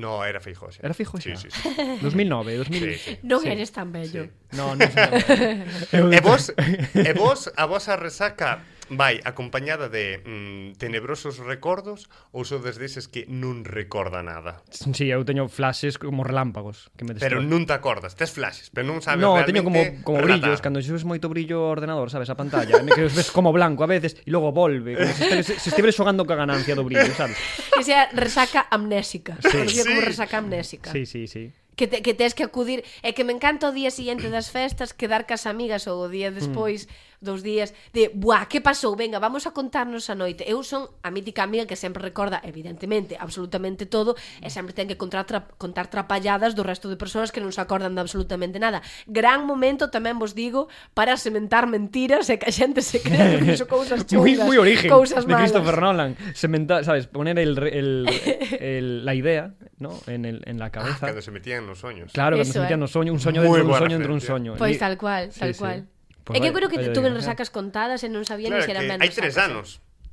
[SPEAKER 1] No, era Feijó.
[SPEAKER 2] Era Feijóo
[SPEAKER 1] Sí,
[SPEAKER 2] xa.
[SPEAKER 1] sí, sí.
[SPEAKER 2] 2009, 2000.
[SPEAKER 1] sí, sí.
[SPEAKER 3] Non
[SPEAKER 2] Sí.
[SPEAKER 3] eres tan bello.
[SPEAKER 1] Sí.
[SPEAKER 2] No, non sei. Eu-
[SPEAKER 1] E vos, e vos, a vosa resaca vai acompañada de mm, tenebrosos recordos ou sodes deses que non recorda nada?
[SPEAKER 2] Sí, eu teño flashes como relámpagos que me
[SPEAKER 1] Pero
[SPEAKER 2] destroen.
[SPEAKER 1] non te acordas, tes flashes, pero non sabes
[SPEAKER 2] No,
[SPEAKER 1] realmente
[SPEAKER 2] teño como como brillos,
[SPEAKER 1] relatar.
[SPEAKER 2] cando xes moito brillo ao ordenador, sabes, a pantalla, e que os ves como blanco a veces e logo volve, como se estivese, se estivese xogando ca ganancia do brillo, sabes?
[SPEAKER 3] Que sea resaca amnésica. Sí. Conocida como
[SPEAKER 1] Sí.
[SPEAKER 3] resaca amnésica.
[SPEAKER 2] Sí, sí, sí.
[SPEAKER 3] Que, te, que tes que acudir E que me encanta o día siguiente das festas Quedar cas amigas ou
[SPEAKER 2] Mm.
[SPEAKER 3] o día despois Dos días de Buah, que pasou? Venga, vamos a contarnos a noite Eu son a mítica amiga que sempre recorda Evidentemente, absolutamente todo E sempre ten que contar, tra, contar trapalladas Do resto de persoas que non se acordan de absolutamente nada Gran momento, tamén vos digo Para sementar mentiras E que a xente se crea que fixo cousas
[SPEAKER 2] Muy,
[SPEAKER 3] chungas
[SPEAKER 2] muy origen
[SPEAKER 3] Cousas
[SPEAKER 2] de
[SPEAKER 3] malas
[SPEAKER 2] Christopher Nolan. Sementa, ¿sabes? Poner el, re- el, el- la idea ¿no? en, el, en la cabeza.
[SPEAKER 1] Cando se metían nos soños.
[SPEAKER 2] claro, cuando
[SPEAKER 3] Eso,
[SPEAKER 2] se metían
[SPEAKER 3] eh.
[SPEAKER 2] los sueños, un sueño
[SPEAKER 1] Ah, Muy
[SPEAKER 2] dentro de un
[SPEAKER 1] buena
[SPEAKER 2] sueño dentro de un
[SPEAKER 1] referencia.
[SPEAKER 2] sueño.
[SPEAKER 3] Pois
[SPEAKER 2] Pues Y-
[SPEAKER 3] Pues tal cual, tal
[SPEAKER 2] Sí, sí.
[SPEAKER 3] cual.
[SPEAKER 2] Pois
[SPEAKER 3] é
[SPEAKER 2] vai-
[SPEAKER 3] que eu creo que
[SPEAKER 2] vai
[SPEAKER 3] tuve
[SPEAKER 2] adivinando.
[SPEAKER 3] resacas contadas e non sabía
[SPEAKER 1] Claro,
[SPEAKER 3] ni se eran
[SPEAKER 1] que
[SPEAKER 3] ben
[SPEAKER 1] hai tres
[SPEAKER 3] resacas,
[SPEAKER 1] anos.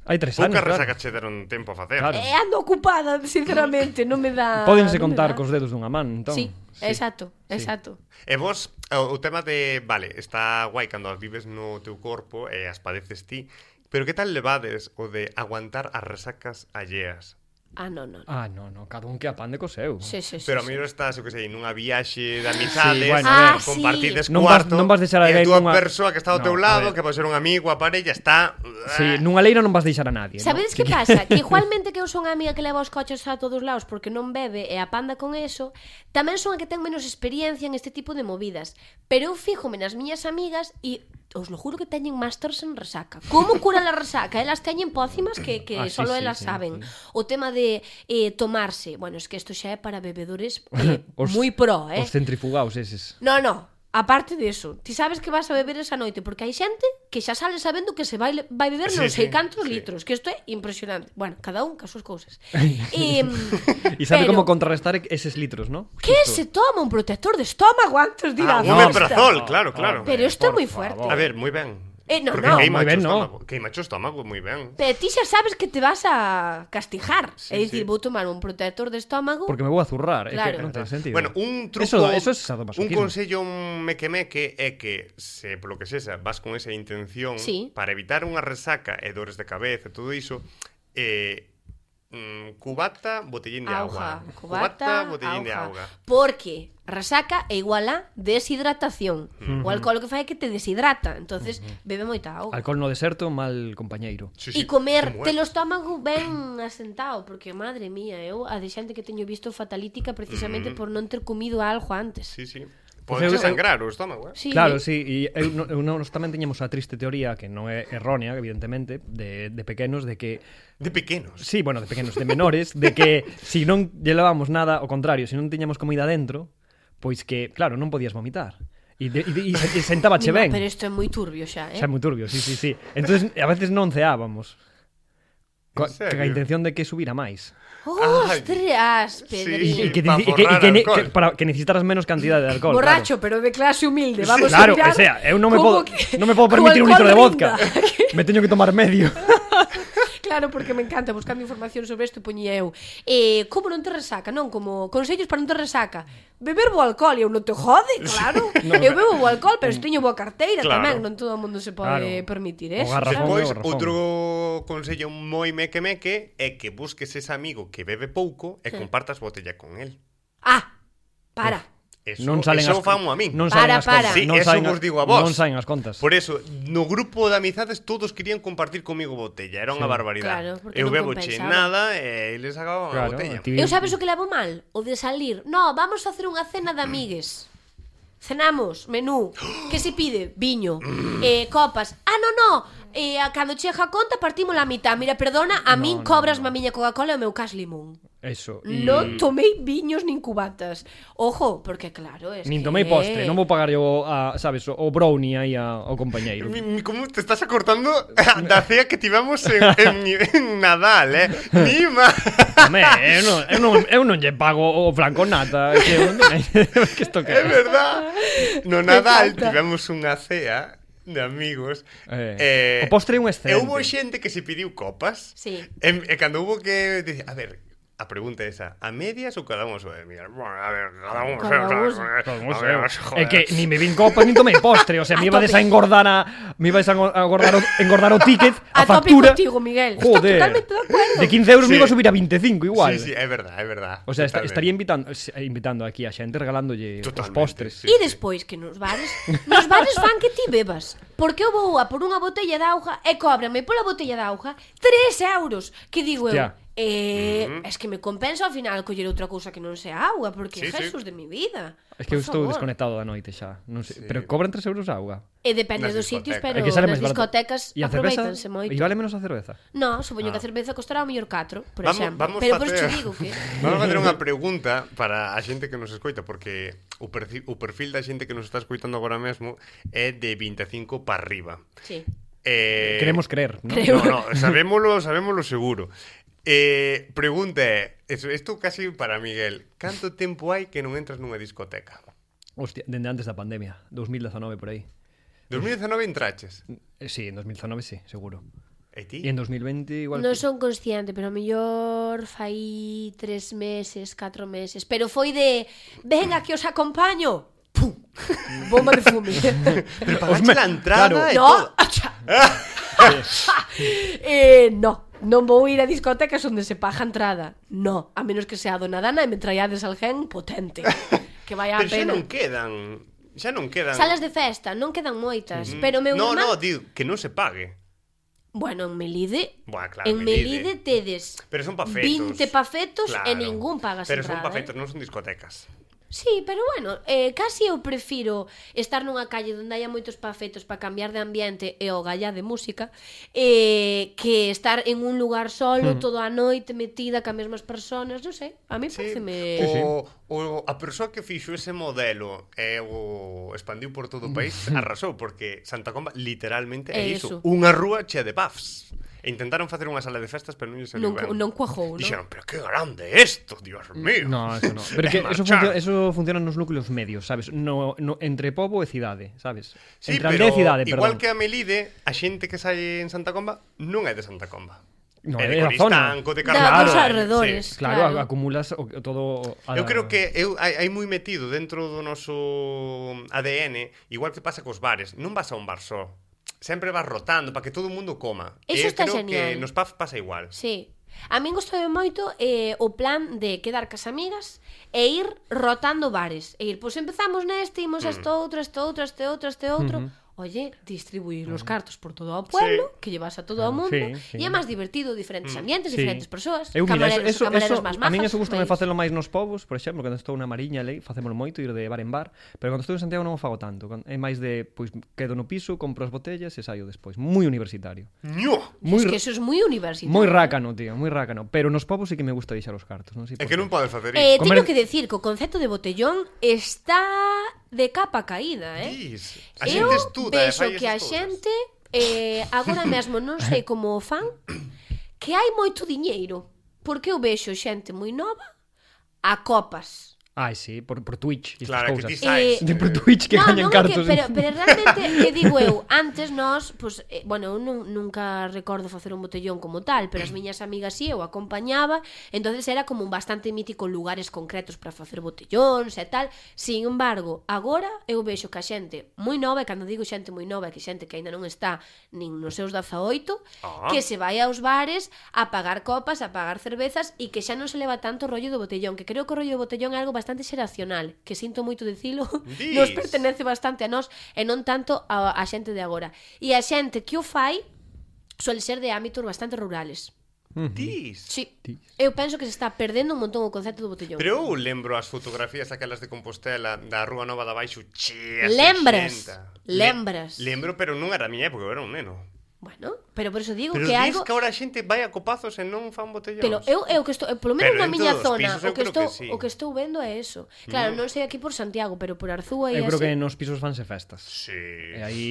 [SPEAKER 2] Hai tres anos,
[SPEAKER 1] Poucas
[SPEAKER 2] claro.
[SPEAKER 1] resacas che deron tempo a facer.
[SPEAKER 2] Claro.
[SPEAKER 3] Eh, ando ocupada, sinceramente, non me dá...
[SPEAKER 2] Pódense
[SPEAKER 3] non me
[SPEAKER 2] contar
[SPEAKER 3] dá.
[SPEAKER 2] cos dedos dunha man, entón.
[SPEAKER 3] Ah, Sí, exacto, exacto.
[SPEAKER 1] E Eh, vos, o, o tema de, vale, está guai cando as vives no eh, teu corpo e as padeces ti, pero que tal levades o de aguantar as resacas alleas?
[SPEAKER 3] Ah, non, non.
[SPEAKER 2] Ah, no, no, cada un que apande co seu.
[SPEAKER 3] Sí, sí, sí,
[SPEAKER 1] Pero a
[SPEAKER 3] sí.
[SPEAKER 1] mellor estás, eu que sei, nunha viaxe de amizades,
[SPEAKER 2] Sí, bueno,
[SPEAKER 3] a ver.
[SPEAKER 1] compartides
[SPEAKER 2] Ah, sí. Non vas-
[SPEAKER 1] cuarto,
[SPEAKER 2] non vas deixar a
[SPEAKER 1] e a
[SPEAKER 2] alguén
[SPEAKER 1] túa
[SPEAKER 2] nunha-
[SPEAKER 1] persoa que está ao
[SPEAKER 2] No,
[SPEAKER 1] teu
[SPEAKER 2] a
[SPEAKER 1] lado,
[SPEAKER 2] ver.
[SPEAKER 1] que pode ser un amigo, a parella, está... Ah,
[SPEAKER 2] Sí, nunha leira non vas deixar a nadie.
[SPEAKER 3] Sabedes
[SPEAKER 2] no?
[SPEAKER 3] que pasa? Que igualmente que eu son a amiga que leva os coches a todos lados porque non bebe e apanda con eso, tamén son a que ten menos experiencia en este tipo de movidas. Pero eu fíjome nas miñas amigas e os lo juro que teñen másters en resaca. Como curan a resaca? Elas teñen pócimas que, que
[SPEAKER 2] Ah, sí,
[SPEAKER 3] solo
[SPEAKER 2] sí,
[SPEAKER 3] elas
[SPEAKER 2] sí,
[SPEAKER 3] saben.
[SPEAKER 2] sí.
[SPEAKER 3] O tema de eh, tomarse. Bueno, es que isto xa é para bebedores eh,
[SPEAKER 2] Os-
[SPEAKER 3] moi pro, eh?
[SPEAKER 2] Os centrifugados eses.
[SPEAKER 3] No, no. Aparte diso, ti sabes que vas a beber esa noite porque hai xente que xa sale sabendo que se vai, vai beber
[SPEAKER 1] Sí,
[SPEAKER 3] non
[SPEAKER 1] sí,
[SPEAKER 3] sei cantos
[SPEAKER 1] sí.
[SPEAKER 3] litros, que isto é impresionante. Bueno, cada un cas súas cousas. e,
[SPEAKER 2] E sabe
[SPEAKER 3] pero,
[SPEAKER 2] como contrarrestar e-, eses litros, no?
[SPEAKER 3] Que se toma un protector de estómago antes de ir
[SPEAKER 1] Ah, un
[SPEAKER 3] á festa?
[SPEAKER 1] omeprazol,
[SPEAKER 2] Oh,
[SPEAKER 1] claro, claro.
[SPEAKER 3] Pero isto é moi fuerte.
[SPEAKER 1] A ver, moi ben.
[SPEAKER 3] Eh, no,
[SPEAKER 1] Porque
[SPEAKER 3] no,
[SPEAKER 1] queima
[SPEAKER 2] moi
[SPEAKER 1] o
[SPEAKER 2] ben, no.
[SPEAKER 1] estómago, queima o estómago, moi ben.
[SPEAKER 3] Pero ti xa sabes que te vas a castijar.
[SPEAKER 1] Sí,
[SPEAKER 3] É
[SPEAKER 1] sí.
[SPEAKER 3] dicir, vou tomar un protector de estómago.
[SPEAKER 2] Porque me vou a zurrar, é
[SPEAKER 3] Claro.
[SPEAKER 2] que non ten sentido.
[SPEAKER 1] Bueno, un truco,
[SPEAKER 2] Eso, eso
[SPEAKER 1] un
[SPEAKER 2] es sadomasoquismo.
[SPEAKER 1] consello un mequemeque é que se polo que sexa vas con esa intención
[SPEAKER 3] Sí.
[SPEAKER 1] para evitar unha resaca e dores de cabeza e todo iso, eh mm, cubata, botellín de
[SPEAKER 3] Auga,
[SPEAKER 1] agua.
[SPEAKER 3] cubata,
[SPEAKER 1] botellín de
[SPEAKER 3] auga.
[SPEAKER 1] agua.
[SPEAKER 3] Porque resaca é igual a deshidratación. O alcohol o que fai é que te deshidrata, entonces bebe moita auga.
[SPEAKER 2] Alcohol no deserto, mal compañeiro.
[SPEAKER 1] Sí,
[SPEAKER 3] E
[SPEAKER 1] sí,
[SPEAKER 3] comer
[SPEAKER 1] como é.
[SPEAKER 3] telo estómago ben asentado, porque madre mía, eu a de xente que teño visto fatalítica precisamente por non ter comido algo antes.
[SPEAKER 1] Mm. Sí, sí.
[SPEAKER 2] Pois
[SPEAKER 1] Pode
[SPEAKER 2] eu-
[SPEAKER 1] sangrar o estómago, eh?
[SPEAKER 3] Sí.
[SPEAKER 2] Claro, sí, e eu, no- eu, nós tamén teñemos a triste teoría que non é errónea, evidentemente, de, de pequenos, de que
[SPEAKER 1] De pequenos.
[SPEAKER 2] Sí, bueno, de pequenos, de menores, de que si non llevábamos nada, ao contrario, se non tiñamos comida dentro, pois que, claro, non podías vomitar. E, de, e, de, e se- e sentábache Ah, ben.
[SPEAKER 3] Mira, Pero isto é moi turbio xa, eh?
[SPEAKER 2] Xa é moi turbio, sí, sí, sí. Entonces, a veces non ceábamos. Coa,
[SPEAKER 1] En serio?
[SPEAKER 2] que a intención de que subira máis.
[SPEAKER 3] Ostras, Pedrín.
[SPEAKER 1] Sí,
[SPEAKER 2] E que,
[SPEAKER 1] pa
[SPEAKER 2] e que, e
[SPEAKER 1] forrar
[SPEAKER 2] que, ne-
[SPEAKER 1] alcohol.
[SPEAKER 2] que, para que necesitaras menos cantidad de alcohol.
[SPEAKER 3] Borracho, pero de clase humilde, vamos
[SPEAKER 2] claro.
[SPEAKER 3] a
[SPEAKER 2] Claro,
[SPEAKER 3] mirar.
[SPEAKER 2] o sea, eu non me
[SPEAKER 3] como
[SPEAKER 2] podo,
[SPEAKER 3] que-
[SPEAKER 2] non me podo
[SPEAKER 3] co
[SPEAKER 2] permitir un litro de
[SPEAKER 3] alcohol
[SPEAKER 2] vodka.
[SPEAKER 3] rinda.
[SPEAKER 2] me teño que tomar medio.
[SPEAKER 3] Claro, porque me encanta buscando información sobre isto poñía eu. Eh, como non te resaca, non, como consellos para non te resaca. Beber bo alcohol, eu non te jode, claro. no, eu bebo bo alcohol, pero se teño boa carteira
[SPEAKER 1] Claro.
[SPEAKER 3] claro. tamén, non todo o mundo se
[SPEAKER 2] Mm.
[SPEAKER 3] pode
[SPEAKER 2] Claro.
[SPEAKER 3] permitir eh.
[SPEAKER 2] O
[SPEAKER 3] eso.
[SPEAKER 2] garrafón.
[SPEAKER 3] sabes?
[SPEAKER 1] Despois,
[SPEAKER 2] Ramón, Ramón.
[SPEAKER 1] outro consello moi meque-meque é que busques ese amigo que bebe pouco e compartas botella con él.
[SPEAKER 3] Ah, para.
[SPEAKER 1] Eso,
[SPEAKER 2] non salen
[SPEAKER 1] eso
[SPEAKER 2] as
[SPEAKER 1] famo a min.
[SPEAKER 2] Non salen
[SPEAKER 3] Para,
[SPEAKER 2] as
[SPEAKER 3] para.
[SPEAKER 2] contas.
[SPEAKER 1] Sí,
[SPEAKER 2] non
[SPEAKER 1] eso
[SPEAKER 2] saen
[SPEAKER 1] vos digo a vos.
[SPEAKER 2] Non saen as contas.
[SPEAKER 1] Por eso, no grupo de amizades todos querían compartir comigo botella, era unha
[SPEAKER 2] Sí.
[SPEAKER 1] barbaridade.
[SPEAKER 3] Claro, porque
[SPEAKER 1] eu
[SPEAKER 3] non
[SPEAKER 1] bebo che
[SPEAKER 3] compensaba.
[SPEAKER 1] nada eh, e eles acababan a
[SPEAKER 2] Claro,
[SPEAKER 1] botella.
[SPEAKER 2] ti-
[SPEAKER 3] Eu sabes o que levo mal? O de salir. No, vamos a facer unha cena de amigues. Cenamos, menú. Que se pide? Viño. Eh, copas. Ah, no, no. Eh, a cando chega a conta partimos la mitad. Mira, perdona, a
[SPEAKER 2] No,
[SPEAKER 3] min
[SPEAKER 2] no,
[SPEAKER 3] cobras
[SPEAKER 2] no.
[SPEAKER 3] ma miña Coca-Cola e o meu cas limón.
[SPEAKER 2] Eso. e-
[SPEAKER 3] Non tomei viños nin cubatas. Ojo, porque claro, es
[SPEAKER 2] Nin
[SPEAKER 3] que...
[SPEAKER 2] tomei postre, non vou pagar yo a, sabes, o, o brownie aí a, ao compañeiro.
[SPEAKER 1] Mi, mi, como te estás acortando da cea que tivemos en, en, en Nadal, eh? Nima!
[SPEAKER 2] Home, eu non, eu non, eu non lle pago o flan con nata, é que eu non que isto que
[SPEAKER 1] É
[SPEAKER 2] é.
[SPEAKER 1] verdad. No
[SPEAKER 3] Me
[SPEAKER 1] Nadal
[SPEAKER 3] encanta.
[SPEAKER 1] tivemos unha cea de amigos.
[SPEAKER 2] Eh, o postre é
[SPEAKER 1] E
[SPEAKER 2] un excelente.
[SPEAKER 1] houbo xente que se pediu copas.
[SPEAKER 3] Sí.
[SPEAKER 1] E, e cando houbo que dice, a ver, a pregunta é esa, a medias ou cada un sobe? Mira, bueno, a ver, cada un
[SPEAKER 3] Cada un
[SPEAKER 1] sobe.
[SPEAKER 3] sobe.
[SPEAKER 2] Todo
[SPEAKER 1] a
[SPEAKER 2] museo.
[SPEAKER 1] ver, joder.
[SPEAKER 2] É que ni me vin copas, nin tomei postre, o sea,
[SPEAKER 3] A
[SPEAKER 2] me ibades a
[SPEAKER 3] tope.
[SPEAKER 2] engordar a me ibades a engordar o, engordar o ticket, a,
[SPEAKER 3] A tope
[SPEAKER 2] factura.
[SPEAKER 3] contigo, Miguel. Estou
[SPEAKER 2] Joder.
[SPEAKER 3] totalmente de acuerdo.
[SPEAKER 2] De 15 euros
[SPEAKER 1] Sí.
[SPEAKER 2] me iba a subir a 25 igual.
[SPEAKER 1] Sí, sí, é verdad, é verdad.
[SPEAKER 2] O sea, est
[SPEAKER 1] Totalmente.
[SPEAKER 2] estaría invitando eh, invitando aquí a xente regalándolle os
[SPEAKER 1] Totalmente,
[SPEAKER 2] postres.
[SPEAKER 1] sí.
[SPEAKER 3] E despois que nos bares, nos bares fan que ti bebas. Porque eu vou a por unha botella de auga e cóbrame pola botella de auga 3 euros. Que digo eu,
[SPEAKER 2] Hostia.
[SPEAKER 3] eh, mm -hmm. es que me compensa ao final coller outra cousa que non sea auga, porque
[SPEAKER 1] Mm-hmm. Sí,
[SPEAKER 3] sí,
[SPEAKER 1] sí.
[SPEAKER 3] Jesús sí. de mi vida.
[SPEAKER 2] Es que eu
[SPEAKER 3] Por
[SPEAKER 2] estou
[SPEAKER 3] favor.
[SPEAKER 2] desconectado da noite xa, non sei, pero cobran 3 euros a auga.
[SPEAKER 3] E depende
[SPEAKER 1] Nas
[SPEAKER 3] dos sitios,
[SPEAKER 1] discotecas.
[SPEAKER 3] pero
[SPEAKER 2] É que sale máis
[SPEAKER 3] nas
[SPEAKER 2] barato.
[SPEAKER 3] discotecas
[SPEAKER 2] E a cerveza?
[SPEAKER 3] aproveitanse moito.
[SPEAKER 2] E vale menos a cerveza.
[SPEAKER 3] No, supoño
[SPEAKER 1] Ah.
[SPEAKER 3] que a cerveza costará o mellor 4, por
[SPEAKER 1] Vamos-
[SPEAKER 3] exemplo.
[SPEAKER 1] vamos facer-
[SPEAKER 3] pero por isto digo que...
[SPEAKER 1] Vamos a facer unha pregunta para a xente que nos escoita porque o perfil, o perfil da xente que nos está escoitando agora mesmo é de 25 para arriba.
[SPEAKER 3] Sí.
[SPEAKER 1] Eh,
[SPEAKER 2] Queremos creer, ¿no?
[SPEAKER 3] creo.
[SPEAKER 1] No, no, sabémolo, sabémolo seguro. Eh, pregunta é, eso- isto casi para Miguel, canto tempo hai que non entras nunha discoteca?
[SPEAKER 2] Hostia, dende antes da pandemia, 2019 por aí.
[SPEAKER 1] 2019 entraches.
[SPEAKER 2] Eh, Sí, en 2019 sí, seguro.
[SPEAKER 1] E
[SPEAKER 2] E
[SPEAKER 1] ti?
[SPEAKER 2] en 2020 igual.
[SPEAKER 3] Non son consciente, pero ao mellor fai tres meses, catro meses. Pero foi de, venga que os acompaño. Pum. Bomba de fume.
[SPEAKER 1] Pero pagaste
[SPEAKER 2] Os me-
[SPEAKER 1] la entrada
[SPEAKER 2] claro.
[SPEAKER 1] e
[SPEAKER 3] no,
[SPEAKER 1] todo.
[SPEAKER 3] acha. eh, no. Non vou ir a discotecas onde se paga a entrada. No, a menos que sea a dona Dana e me traiades alguén potente. Que vai a
[SPEAKER 1] Pero xa
[SPEAKER 3] pena.
[SPEAKER 1] non quedan, xa non quedan. Mm.
[SPEAKER 3] Salas de festa, non quedan moitas, pero meu
[SPEAKER 1] No,
[SPEAKER 3] irmán-
[SPEAKER 1] no, digo, que non se pague.
[SPEAKER 3] Bueno, en Melide,
[SPEAKER 1] Buah, claro,
[SPEAKER 3] en
[SPEAKER 1] Melide.
[SPEAKER 3] Melide tedes
[SPEAKER 1] Pero son pa fetos.
[SPEAKER 3] 20 pafetos
[SPEAKER 1] Claro.
[SPEAKER 3] e ningún pagas
[SPEAKER 1] Pero
[SPEAKER 3] entrada.
[SPEAKER 1] son pafetos,
[SPEAKER 3] eh?
[SPEAKER 1] non son discotecas.
[SPEAKER 3] Sí, pero bueno, eh, casi eu prefiro estar nunha calle onde haya moitos pafetos para cambiar de ambiente e o gallá de música eh, que estar en un lugar solo toda a noite metida ca mesmas persoas, non sei, a mí
[SPEAKER 1] Sí.
[SPEAKER 3] pareceme...
[SPEAKER 2] Sí, sí.
[SPEAKER 1] O, o, a persoa que fixo ese modelo e o expandiu por todo o país
[SPEAKER 2] Mm.
[SPEAKER 1] arrasou, porque Santa Comba literalmente é
[SPEAKER 3] É
[SPEAKER 1] iso.
[SPEAKER 3] iso.
[SPEAKER 1] Unha rúa chea de pubs. E intentaron facer unha sala de festas, pero non lle saliu
[SPEAKER 3] Non cu- non cuajou, non?
[SPEAKER 1] Dixeron, pero que grande é isto, Dios mío.
[SPEAKER 2] Mm, No, eso no. Pero
[SPEAKER 1] E
[SPEAKER 2] que eso,
[SPEAKER 1] marcharon.
[SPEAKER 2] funcio- eso funciona nos núcleos medios, sabes? No, no, entre pobo e cidade, sabes?
[SPEAKER 1] Sí,
[SPEAKER 2] entre
[SPEAKER 1] pero
[SPEAKER 2] aldea e cidade,
[SPEAKER 1] igual
[SPEAKER 2] perdón.
[SPEAKER 1] que a Melide, a xente que sai en Santa Comba non é de Santa Comba.
[SPEAKER 2] No,
[SPEAKER 1] é
[SPEAKER 2] é
[SPEAKER 1] de
[SPEAKER 2] da zona.
[SPEAKER 1] Coristanco, de
[SPEAKER 3] Da-
[SPEAKER 1] Carnaval.
[SPEAKER 2] dos
[SPEAKER 3] arredores.
[SPEAKER 1] Sí.
[SPEAKER 2] Claro,
[SPEAKER 3] Claro.
[SPEAKER 2] a- acumulas o, o todo... a-
[SPEAKER 1] Eu creo que eu hai, hai moi metido dentro do noso ADN, igual que pasa cos bares, non vas a un bar só. Sempre vas rotando para que todo o mundo coma. E
[SPEAKER 3] Eso
[SPEAKER 1] eu
[SPEAKER 3] está
[SPEAKER 1] creo que
[SPEAKER 3] genial.
[SPEAKER 1] nos pubs pasa igual.
[SPEAKER 3] Sí. A min gustoume moito eh, o plan de quedar cas amigas e ir rotando bares. E ir, pois empezamos neste, imos a
[SPEAKER 2] Mm.
[SPEAKER 3] este outro, a este outro, a este outro, a este outro. Oye, distribuir los cartos por todo o pueblo,
[SPEAKER 1] Sí.
[SPEAKER 3] que llevas a todo o mundo,
[SPEAKER 2] sí, sí.
[SPEAKER 3] e é máis divertido, diferentes
[SPEAKER 2] Sí.
[SPEAKER 3] ambientes, diferentes persoas,
[SPEAKER 2] Eu, mira, eso,
[SPEAKER 3] camareros,
[SPEAKER 2] eso, eso,
[SPEAKER 3] camareros máis
[SPEAKER 2] a min
[SPEAKER 3] majas,
[SPEAKER 2] eso gusta me
[SPEAKER 3] máis-
[SPEAKER 2] facelo máis nos povos, por exemplo, cando estou na Mariña, lei, facémolo moito, ir de bar en bar, pero cando estou en Santiago non o fago tanto, Con- é máis de, pois, quedo no piso, compro as botellas e saio despois, moi universitario.
[SPEAKER 1] ¡Ño!
[SPEAKER 2] Moi,
[SPEAKER 3] Es que eso es moi universitario.
[SPEAKER 2] moi rácano, tío, moi rácano, pero nos povos sí que me gusta deixar os cartos, non sei
[SPEAKER 1] É
[SPEAKER 2] por
[SPEAKER 1] que
[SPEAKER 2] qué.
[SPEAKER 1] non podes facer
[SPEAKER 3] Eh,
[SPEAKER 1] iso.
[SPEAKER 2] Comer-
[SPEAKER 3] teño que decir que o concepto de botellón está de capa caída, eh?
[SPEAKER 1] Dis. A
[SPEAKER 3] eu
[SPEAKER 1] xente estuda, e fai
[SPEAKER 3] vexo que a
[SPEAKER 1] esas cousas.
[SPEAKER 3] xente eh, agora mesmo non sei como o fan que hai moito diñeiro porque eu vexo xente moi nova a copas
[SPEAKER 2] Ai, sí, por, por Twitch, e
[SPEAKER 1] Claro,
[SPEAKER 2] estas
[SPEAKER 1] que Eh, ti
[SPEAKER 2] cousas.
[SPEAKER 3] Eh,
[SPEAKER 1] sais.
[SPEAKER 2] De por Twitch que
[SPEAKER 3] no,
[SPEAKER 2] gañan
[SPEAKER 3] non, é
[SPEAKER 2] cartos.
[SPEAKER 3] que, pero, pero realmente que digo eu antes nós pues, eh, bueno, eu nun, nunca recordo facer un botellón como tal pero as miñas amigas si eu acompañaba entonces era como un bastante mítico lugares concretos para facer botellóns e tal sin embargo, agora eu vexo que a xente moi nova e cando digo xente moi nova é que xente que aínda non está nin nos seus 18
[SPEAKER 1] Ah.
[SPEAKER 3] que se vai aos bares a pagar copas, a pagar cervezas e que xa non se leva tanto o rollo do botellón, que creo que o rollo do botellón é algo bastante xeracional, que sinto moito dicilo,
[SPEAKER 1] Dis.
[SPEAKER 3] nos pertenece bastante a nós e non tanto a, a xente de agora. E a xente que o fai suele ser de ámbitos bastante rurales.
[SPEAKER 1] Dis.
[SPEAKER 3] Sí.
[SPEAKER 2] Dis.
[SPEAKER 3] Eu penso que se está perdendo un montón o concepto do botellón.
[SPEAKER 1] Pero eu lembro as fotografías aquelas de Compostela da Rúa Nova da Baixo cheas de
[SPEAKER 3] Lembras?
[SPEAKER 1] xenta.
[SPEAKER 3] Lembras?
[SPEAKER 1] Le- Lembro, pero non era a miña época, eu era un neno.
[SPEAKER 3] Bueno, pero por eso digo
[SPEAKER 1] Pero
[SPEAKER 3] que
[SPEAKER 1] dis
[SPEAKER 3] algo
[SPEAKER 1] que agora a xente vai a copazos e non fan botellóns.
[SPEAKER 3] Pero eu eu que estou, eu, polo menos
[SPEAKER 1] Pero
[SPEAKER 3] na
[SPEAKER 1] en
[SPEAKER 3] miña
[SPEAKER 1] todos os
[SPEAKER 3] zona,
[SPEAKER 1] pisos eu
[SPEAKER 3] o que
[SPEAKER 1] creo
[SPEAKER 3] estou
[SPEAKER 1] que sí. Mm.
[SPEAKER 3] o que estou vendo é eso. Claro, non sei aquí por Santiago, pero por Arzúa e
[SPEAKER 2] Eu creo
[SPEAKER 3] así.
[SPEAKER 2] que nos pisos fanse festas.
[SPEAKER 1] Sí.
[SPEAKER 2] E aí...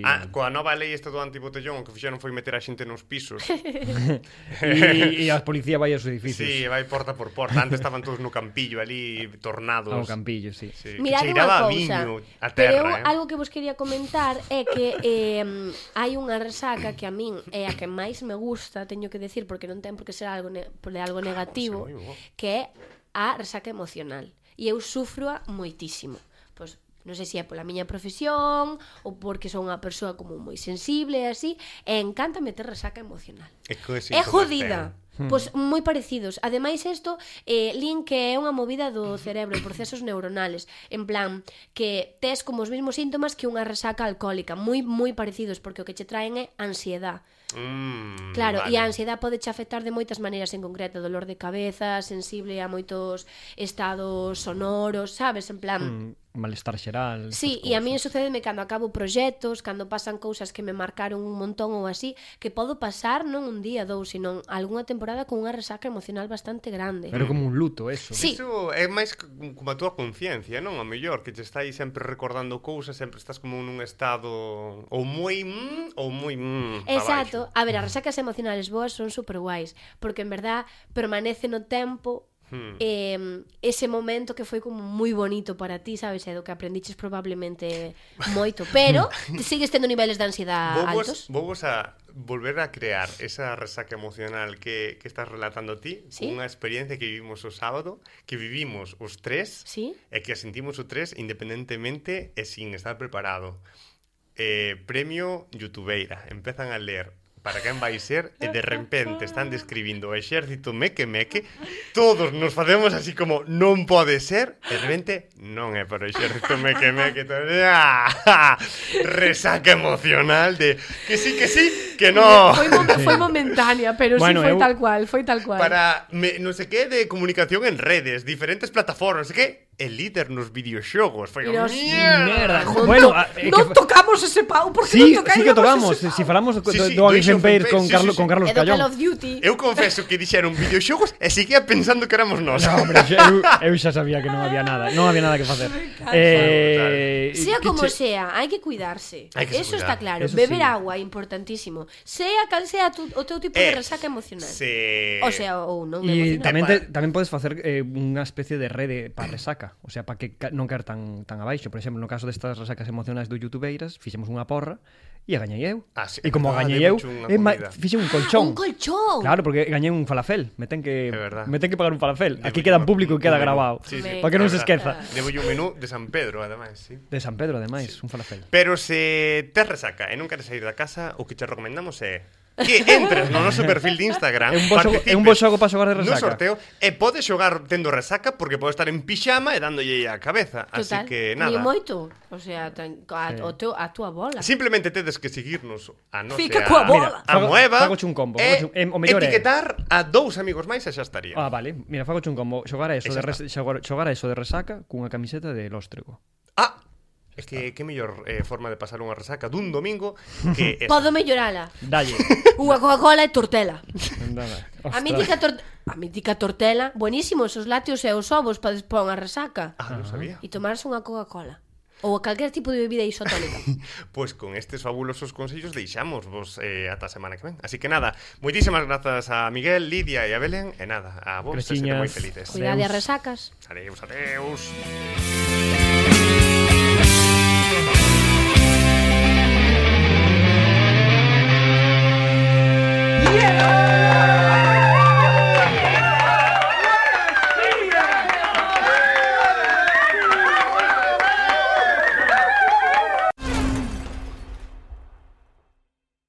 [SPEAKER 1] Ah, coa nova lei esta do antibotellón o que fixeron foi meter a xente nos pisos.
[SPEAKER 2] E, e a policía vai aos edificios.
[SPEAKER 1] sí, vai porta por porta. Antes estaban todos no campillo ali tornados.
[SPEAKER 2] Ao campillo, sí.
[SPEAKER 1] Sí.
[SPEAKER 3] Mira,
[SPEAKER 1] que
[SPEAKER 3] hai unha
[SPEAKER 1] cheiraba a
[SPEAKER 3] cousa.
[SPEAKER 1] viño a
[SPEAKER 3] Pero
[SPEAKER 1] terra,
[SPEAKER 3] eu,
[SPEAKER 1] eh.
[SPEAKER 3] algo que vos quería comentar é que eh, hai unha resaca que a min é a que máis me gusta, teño que decir, porque non ten por que ser algo ne de algo
[SPEAKER 1] Ah,
[SPEAKER 3] negativo,
[SPEAKER 1] sí, moi bo.
[SPEAKER 3] que é a resaca emocional. E eu sufroa moitísimo. Pois non sei se é pola miña profesión ou porque son unha persoa como moi sensible e así, e encanta meter resaca emocional.
[SPEAKER 1] É, que
[SPEAKER 3] É
[SPEAKER 1] síntomas
[SPEAKER 3] jodida.
[SPEAKER 1] ten.
[SPEAKER 3] Pois moi parecidos. Ademais isto eh, lin que é unha movida do cerebro, procesos neuronales, en plan que tes como os mesmos síntomas que unha resaca alcohólica, moi moi parecidos porque o que che traen é ansiedade.
[SPEAKER 1] Mm,
[SPEAKER 3] Claro,
[SPEAKER 1] vale.
[SPEAKER 3] e a ansiedade pode che afectar de moitas maneiras, en concreto dolor de cabeza, sensible a moitos estados sonoros, sabes, en
[SPEAKER 1] Hmm.
[SPEAKER 3] plan mm.
[SPEAKER 2] Mm, Malestar xeral.
[SPEAKER 3] Sí,
[SPEAKER 2] estas
[SPEAKER 3] e a mí
[SPEAKER 2] cousas.
[SPEAKER 3] sucedeme cando acabo proxectos, cando pasan cousas que me marcaron un montón ou así, que podo pasar non un día, dous, senón algunha temporada con unha resaca emocional bastante grande.
[SPEAKER 2] Pero como un luto, eso.
[SPEAKER 3] Sí.
[SPEAKER 1] Iso é máis c- como a túa conciencia, non? A mellor, que te está aí sempre recordando cousas, sempre estás como nun estado ou moi mm, ou moi mm, pa baixo.
[SPEAKER 3] Exacto. A ver, as resacas emocionales boas son super guais, porque en verdad permanece no tempo
[SPEAKER 1] Hmm.
[SPEAKER 3] eh, ese momento que foi como moi bonito para ti, sabes, e do que aprendiches probablemente moito, pero sigues tendo niveles de ansiedade
[SPEAKER 1] Vos,
[SPEAKER 3] altos.
[SPEAKER 1] vos a volver a crear esa resaca emocional que, que estás relatando ti
[SPEAKER 3] Sí.
[SPEAKER 1] Unha experiencia que vivimos o sábado Que vivimos os tres
[SPEAKER 3] Sí?
[SPEAKER 1] E que a sentimos o tres independentemente e sin estar preparado eh, Premio Youtubeira Empezan a ler para quen vai ser e de repente están describindo o exército meque meque todos nos facemos así como non pode ser e de repente non é para o exército meque meque todo, ¡Ah! resaca emocional de que sí, que sí, que no
[SPEAKER 3] Foi, mom- foi momentánea, pero
[SPEAKER 2] Bueno,
[SPEAKER 3] sí foi
[SPEAKER 2] eu-
[SPEAKER 3] tal cual, foi tal cual.
[SPEAKER 1] para me, non sei que de comunicación en redes diferentes plataformas, non sei que el líder nos videoxogos foi
[SPEAKER 3] Dios,
[SPEAKER 1] mierda
[SPEAKER 3] Non
[SPEAKER 2] Bueno,
[SPEAKER 3] to-
[SPEAKER 2] a- eh,
[SPEAKER 3] non
[SPEAKER 2] que-
[SPEAKER 3] tocamos ese pau, porque
[SPEAKER 2] Sí,
[SPEAKER 3] non tocamos
[SPEAKER 2] sí que tocamos.
[SPEAKER 3] ese
[SPEAKER 2] Si,
[SPEAKER 3] pau.
[SPEAKER 2] falamos
[SPEAKER 1] Sí,
[SPEAKER 2] do,
[SPEAKER 1] sí,
[SPEAKER 2] do
[SPEAKER 1] do Age
[SPEAKER 2] Aviation
[SPEAKER 1] of Empires,
[SPEAKER 2] Page con,
[SPEAKER 1] sí,
[SPEAKER 2] Carlo-
[SPEAKER 1] sí,
[SPEAKER 2] con
[SPEAKER 1] sí.
[SPEAKER 2] Carlos
[SPEAKER 3] É do
[SPEAKER 2] Callón.
[SPEAKER 3] Call of Duty.
[SPEAKER 1] Eu confeso que dixeron videoxogos e seguía pensando que éramos Eh, nós.
[SPEAKER 2] No, hombre, xa- eu, eu xa sabía que non había nada, non había nada que facer. Eh,
[SPEAKER 3] Sea
[SPEAKER 2] que
[SPEAKER 3] como
[SPEAKER 2] che-
[SPEAKER 3] sea, hai que cuidarse.
[SPEAKER 1] Hai que se
[SPEAKER 3] Eso
[SPEAKER 1] cuidar.
[SPEAKER 3] está claro.
[SPEAKER 2] Eso
[SPEAKER 3] Beber
[SPEAKER 2] sí.
[SPEAKER 3] agua é importantísimo. Sea cal sea tu, o teu tipo
[SPEAKER 1] Eh,
[SPEAKER 3] de resaca emocional.
[SPEAKER 1] Se...
[SPEAKER 3] O sea, ou non
[SPEAKER 2] E
[SPEAKER 3] emocional.
[SPEAKER 2] tamén, te, tamén podes facer eh, unha especie de rede para resaca O sea, para que ca- non caer tan, tan abaixo Por exemplo, no caso destas resacas emocionais do youtubeiras Fixemos unha porra e a gañei eu
[SPEAKER 1] Ah, sí,
[SPEAKER 2] E como
[SPEAKER 1] ah,
[SPEAKER 2] a gañei eu,
[SPEAKER 1] demos unha
[SPEAKER 2] eh, ma-
[SPEAKER 1] comida.
[SPEAKER 2] fixen un
[SPEAKER 3] Un
[SPEAKER 2] colchón
[SPEAKER 3] colchón.
[SPEAKER 2] Claro, porque gañei un falafel Me ten que,
[SPEAKER 1] É verdad.
[SPEAKER 2] me ten que pagar un falafel
[SPEAKER 1] Debo
[SPEAKER 2] Aquí
[SPEAKER 1] yo
[SPEAKER 2] queda en
[SPEAKER 1] un-
[SPEAKER 2] público
[SPEAKER 1] un
[SPEAKER 2] e queda
[SPEAKER 1] menú.
[SPEAKER 2] grabado
[SPEAKER 1] Sí, sí,
[SPEAKER 3] Para
[SPEAKER 2] Para que non se
[SPEAKER 1] é
[SPEAKER 2] esqueza
[SPEAKER 1] verdad. Debo yo un menú de San Pedro, ademais, sí.
[SPEAKER 2] De San Pedro, ademais, un falafel
[SPEAKER 1] Pero se te resaca e non queres sair da casa, o que te recomendamos é que entres no noso perfil de Instagram
[SPEAKER 2] É un bo xogo-
[SPEAKER 1] Ah, participes
[SPEAKER 2] é un bo xogo para xogar de
[SPEAKER 1] no
[SPEAKER 2] resaca.
[SPEAKER 1] sorteo E podes xogar tendo resaca Porque podes estar en pijama e dándolle a cabeza Así
[SPEAKER 3] Total,
[SPEAKER 1] que
[SPEAKER 3] Ni
[SPEAKER 1] nada
[SPEAKER 3] moito. O sea, tan, a,
[SPEAKER 2] Sí.
[SPEAKER 3] o teu, a tua bola.
[SPEAKER 1] Simplemente tedes que seguirnos a nosa
[SPEAKER 3] Fica coa
[SPEAKER 1] a
[SPEAKER 3] bola. Mira,
[SPEAKER 2] fago-
[SPEAKER 1] moeva
[SPEAKER 2] fagoche un combo,
[SPEAKER 1] e
[SPEAKER 2] fagoche un- em, o mellor é-
[SPEAKER 1] etiquetar a dous amigos máis e xa estaría.
[SPEAKER 2] Ah, vale, mira, fago un combo Xogar a eso,
[SPEAKER 1] E xa
[SPEAKER 2] de, res, xogar, xogar a eso de resaca cunha camiseta de lóstrego
[SPEAKER 1] Ah, é que que mellor eh, forma de pasar unha resaca dun domingo que esa.
[SPEAKER 3] Podo mellorala.
[SPEAKER 2] Dalle
[SPEAKER 3] Unha Coca-Cola e tortela.
[SPEAKER 2] Nada.
[SPEAKER 3] A
[SPEAKER 2] Ostras.
[SPEAKER 3] mítica, tor a mítica tortela, buenísimo, esos láteos e os ovos para despón a resaca.
[SPEAKER 1] Ah, non sabía.
[SPEAKER 3] E tomarse unha Coca-Cola. Ou calquer tipo de bebida isotónica.
[SPEAKER 1] Pois con estes fabulosos consellos deixamos vos eh, ata a semana que ven. Así que nada, moitísimas grazas a Miguel, Lidia e a Belén. E nada, a vos, e sete moi
[SPEAKER 2] Graciñas.
[SPEAKER 1] felices.
[SPEAKER 3] Cuidade as
[SPEAKER 2] Adeus.
[SPEAKER 3] resacas.
[SPEAKER 1] Adeus, adeus.
[SPEAKER 4] Thank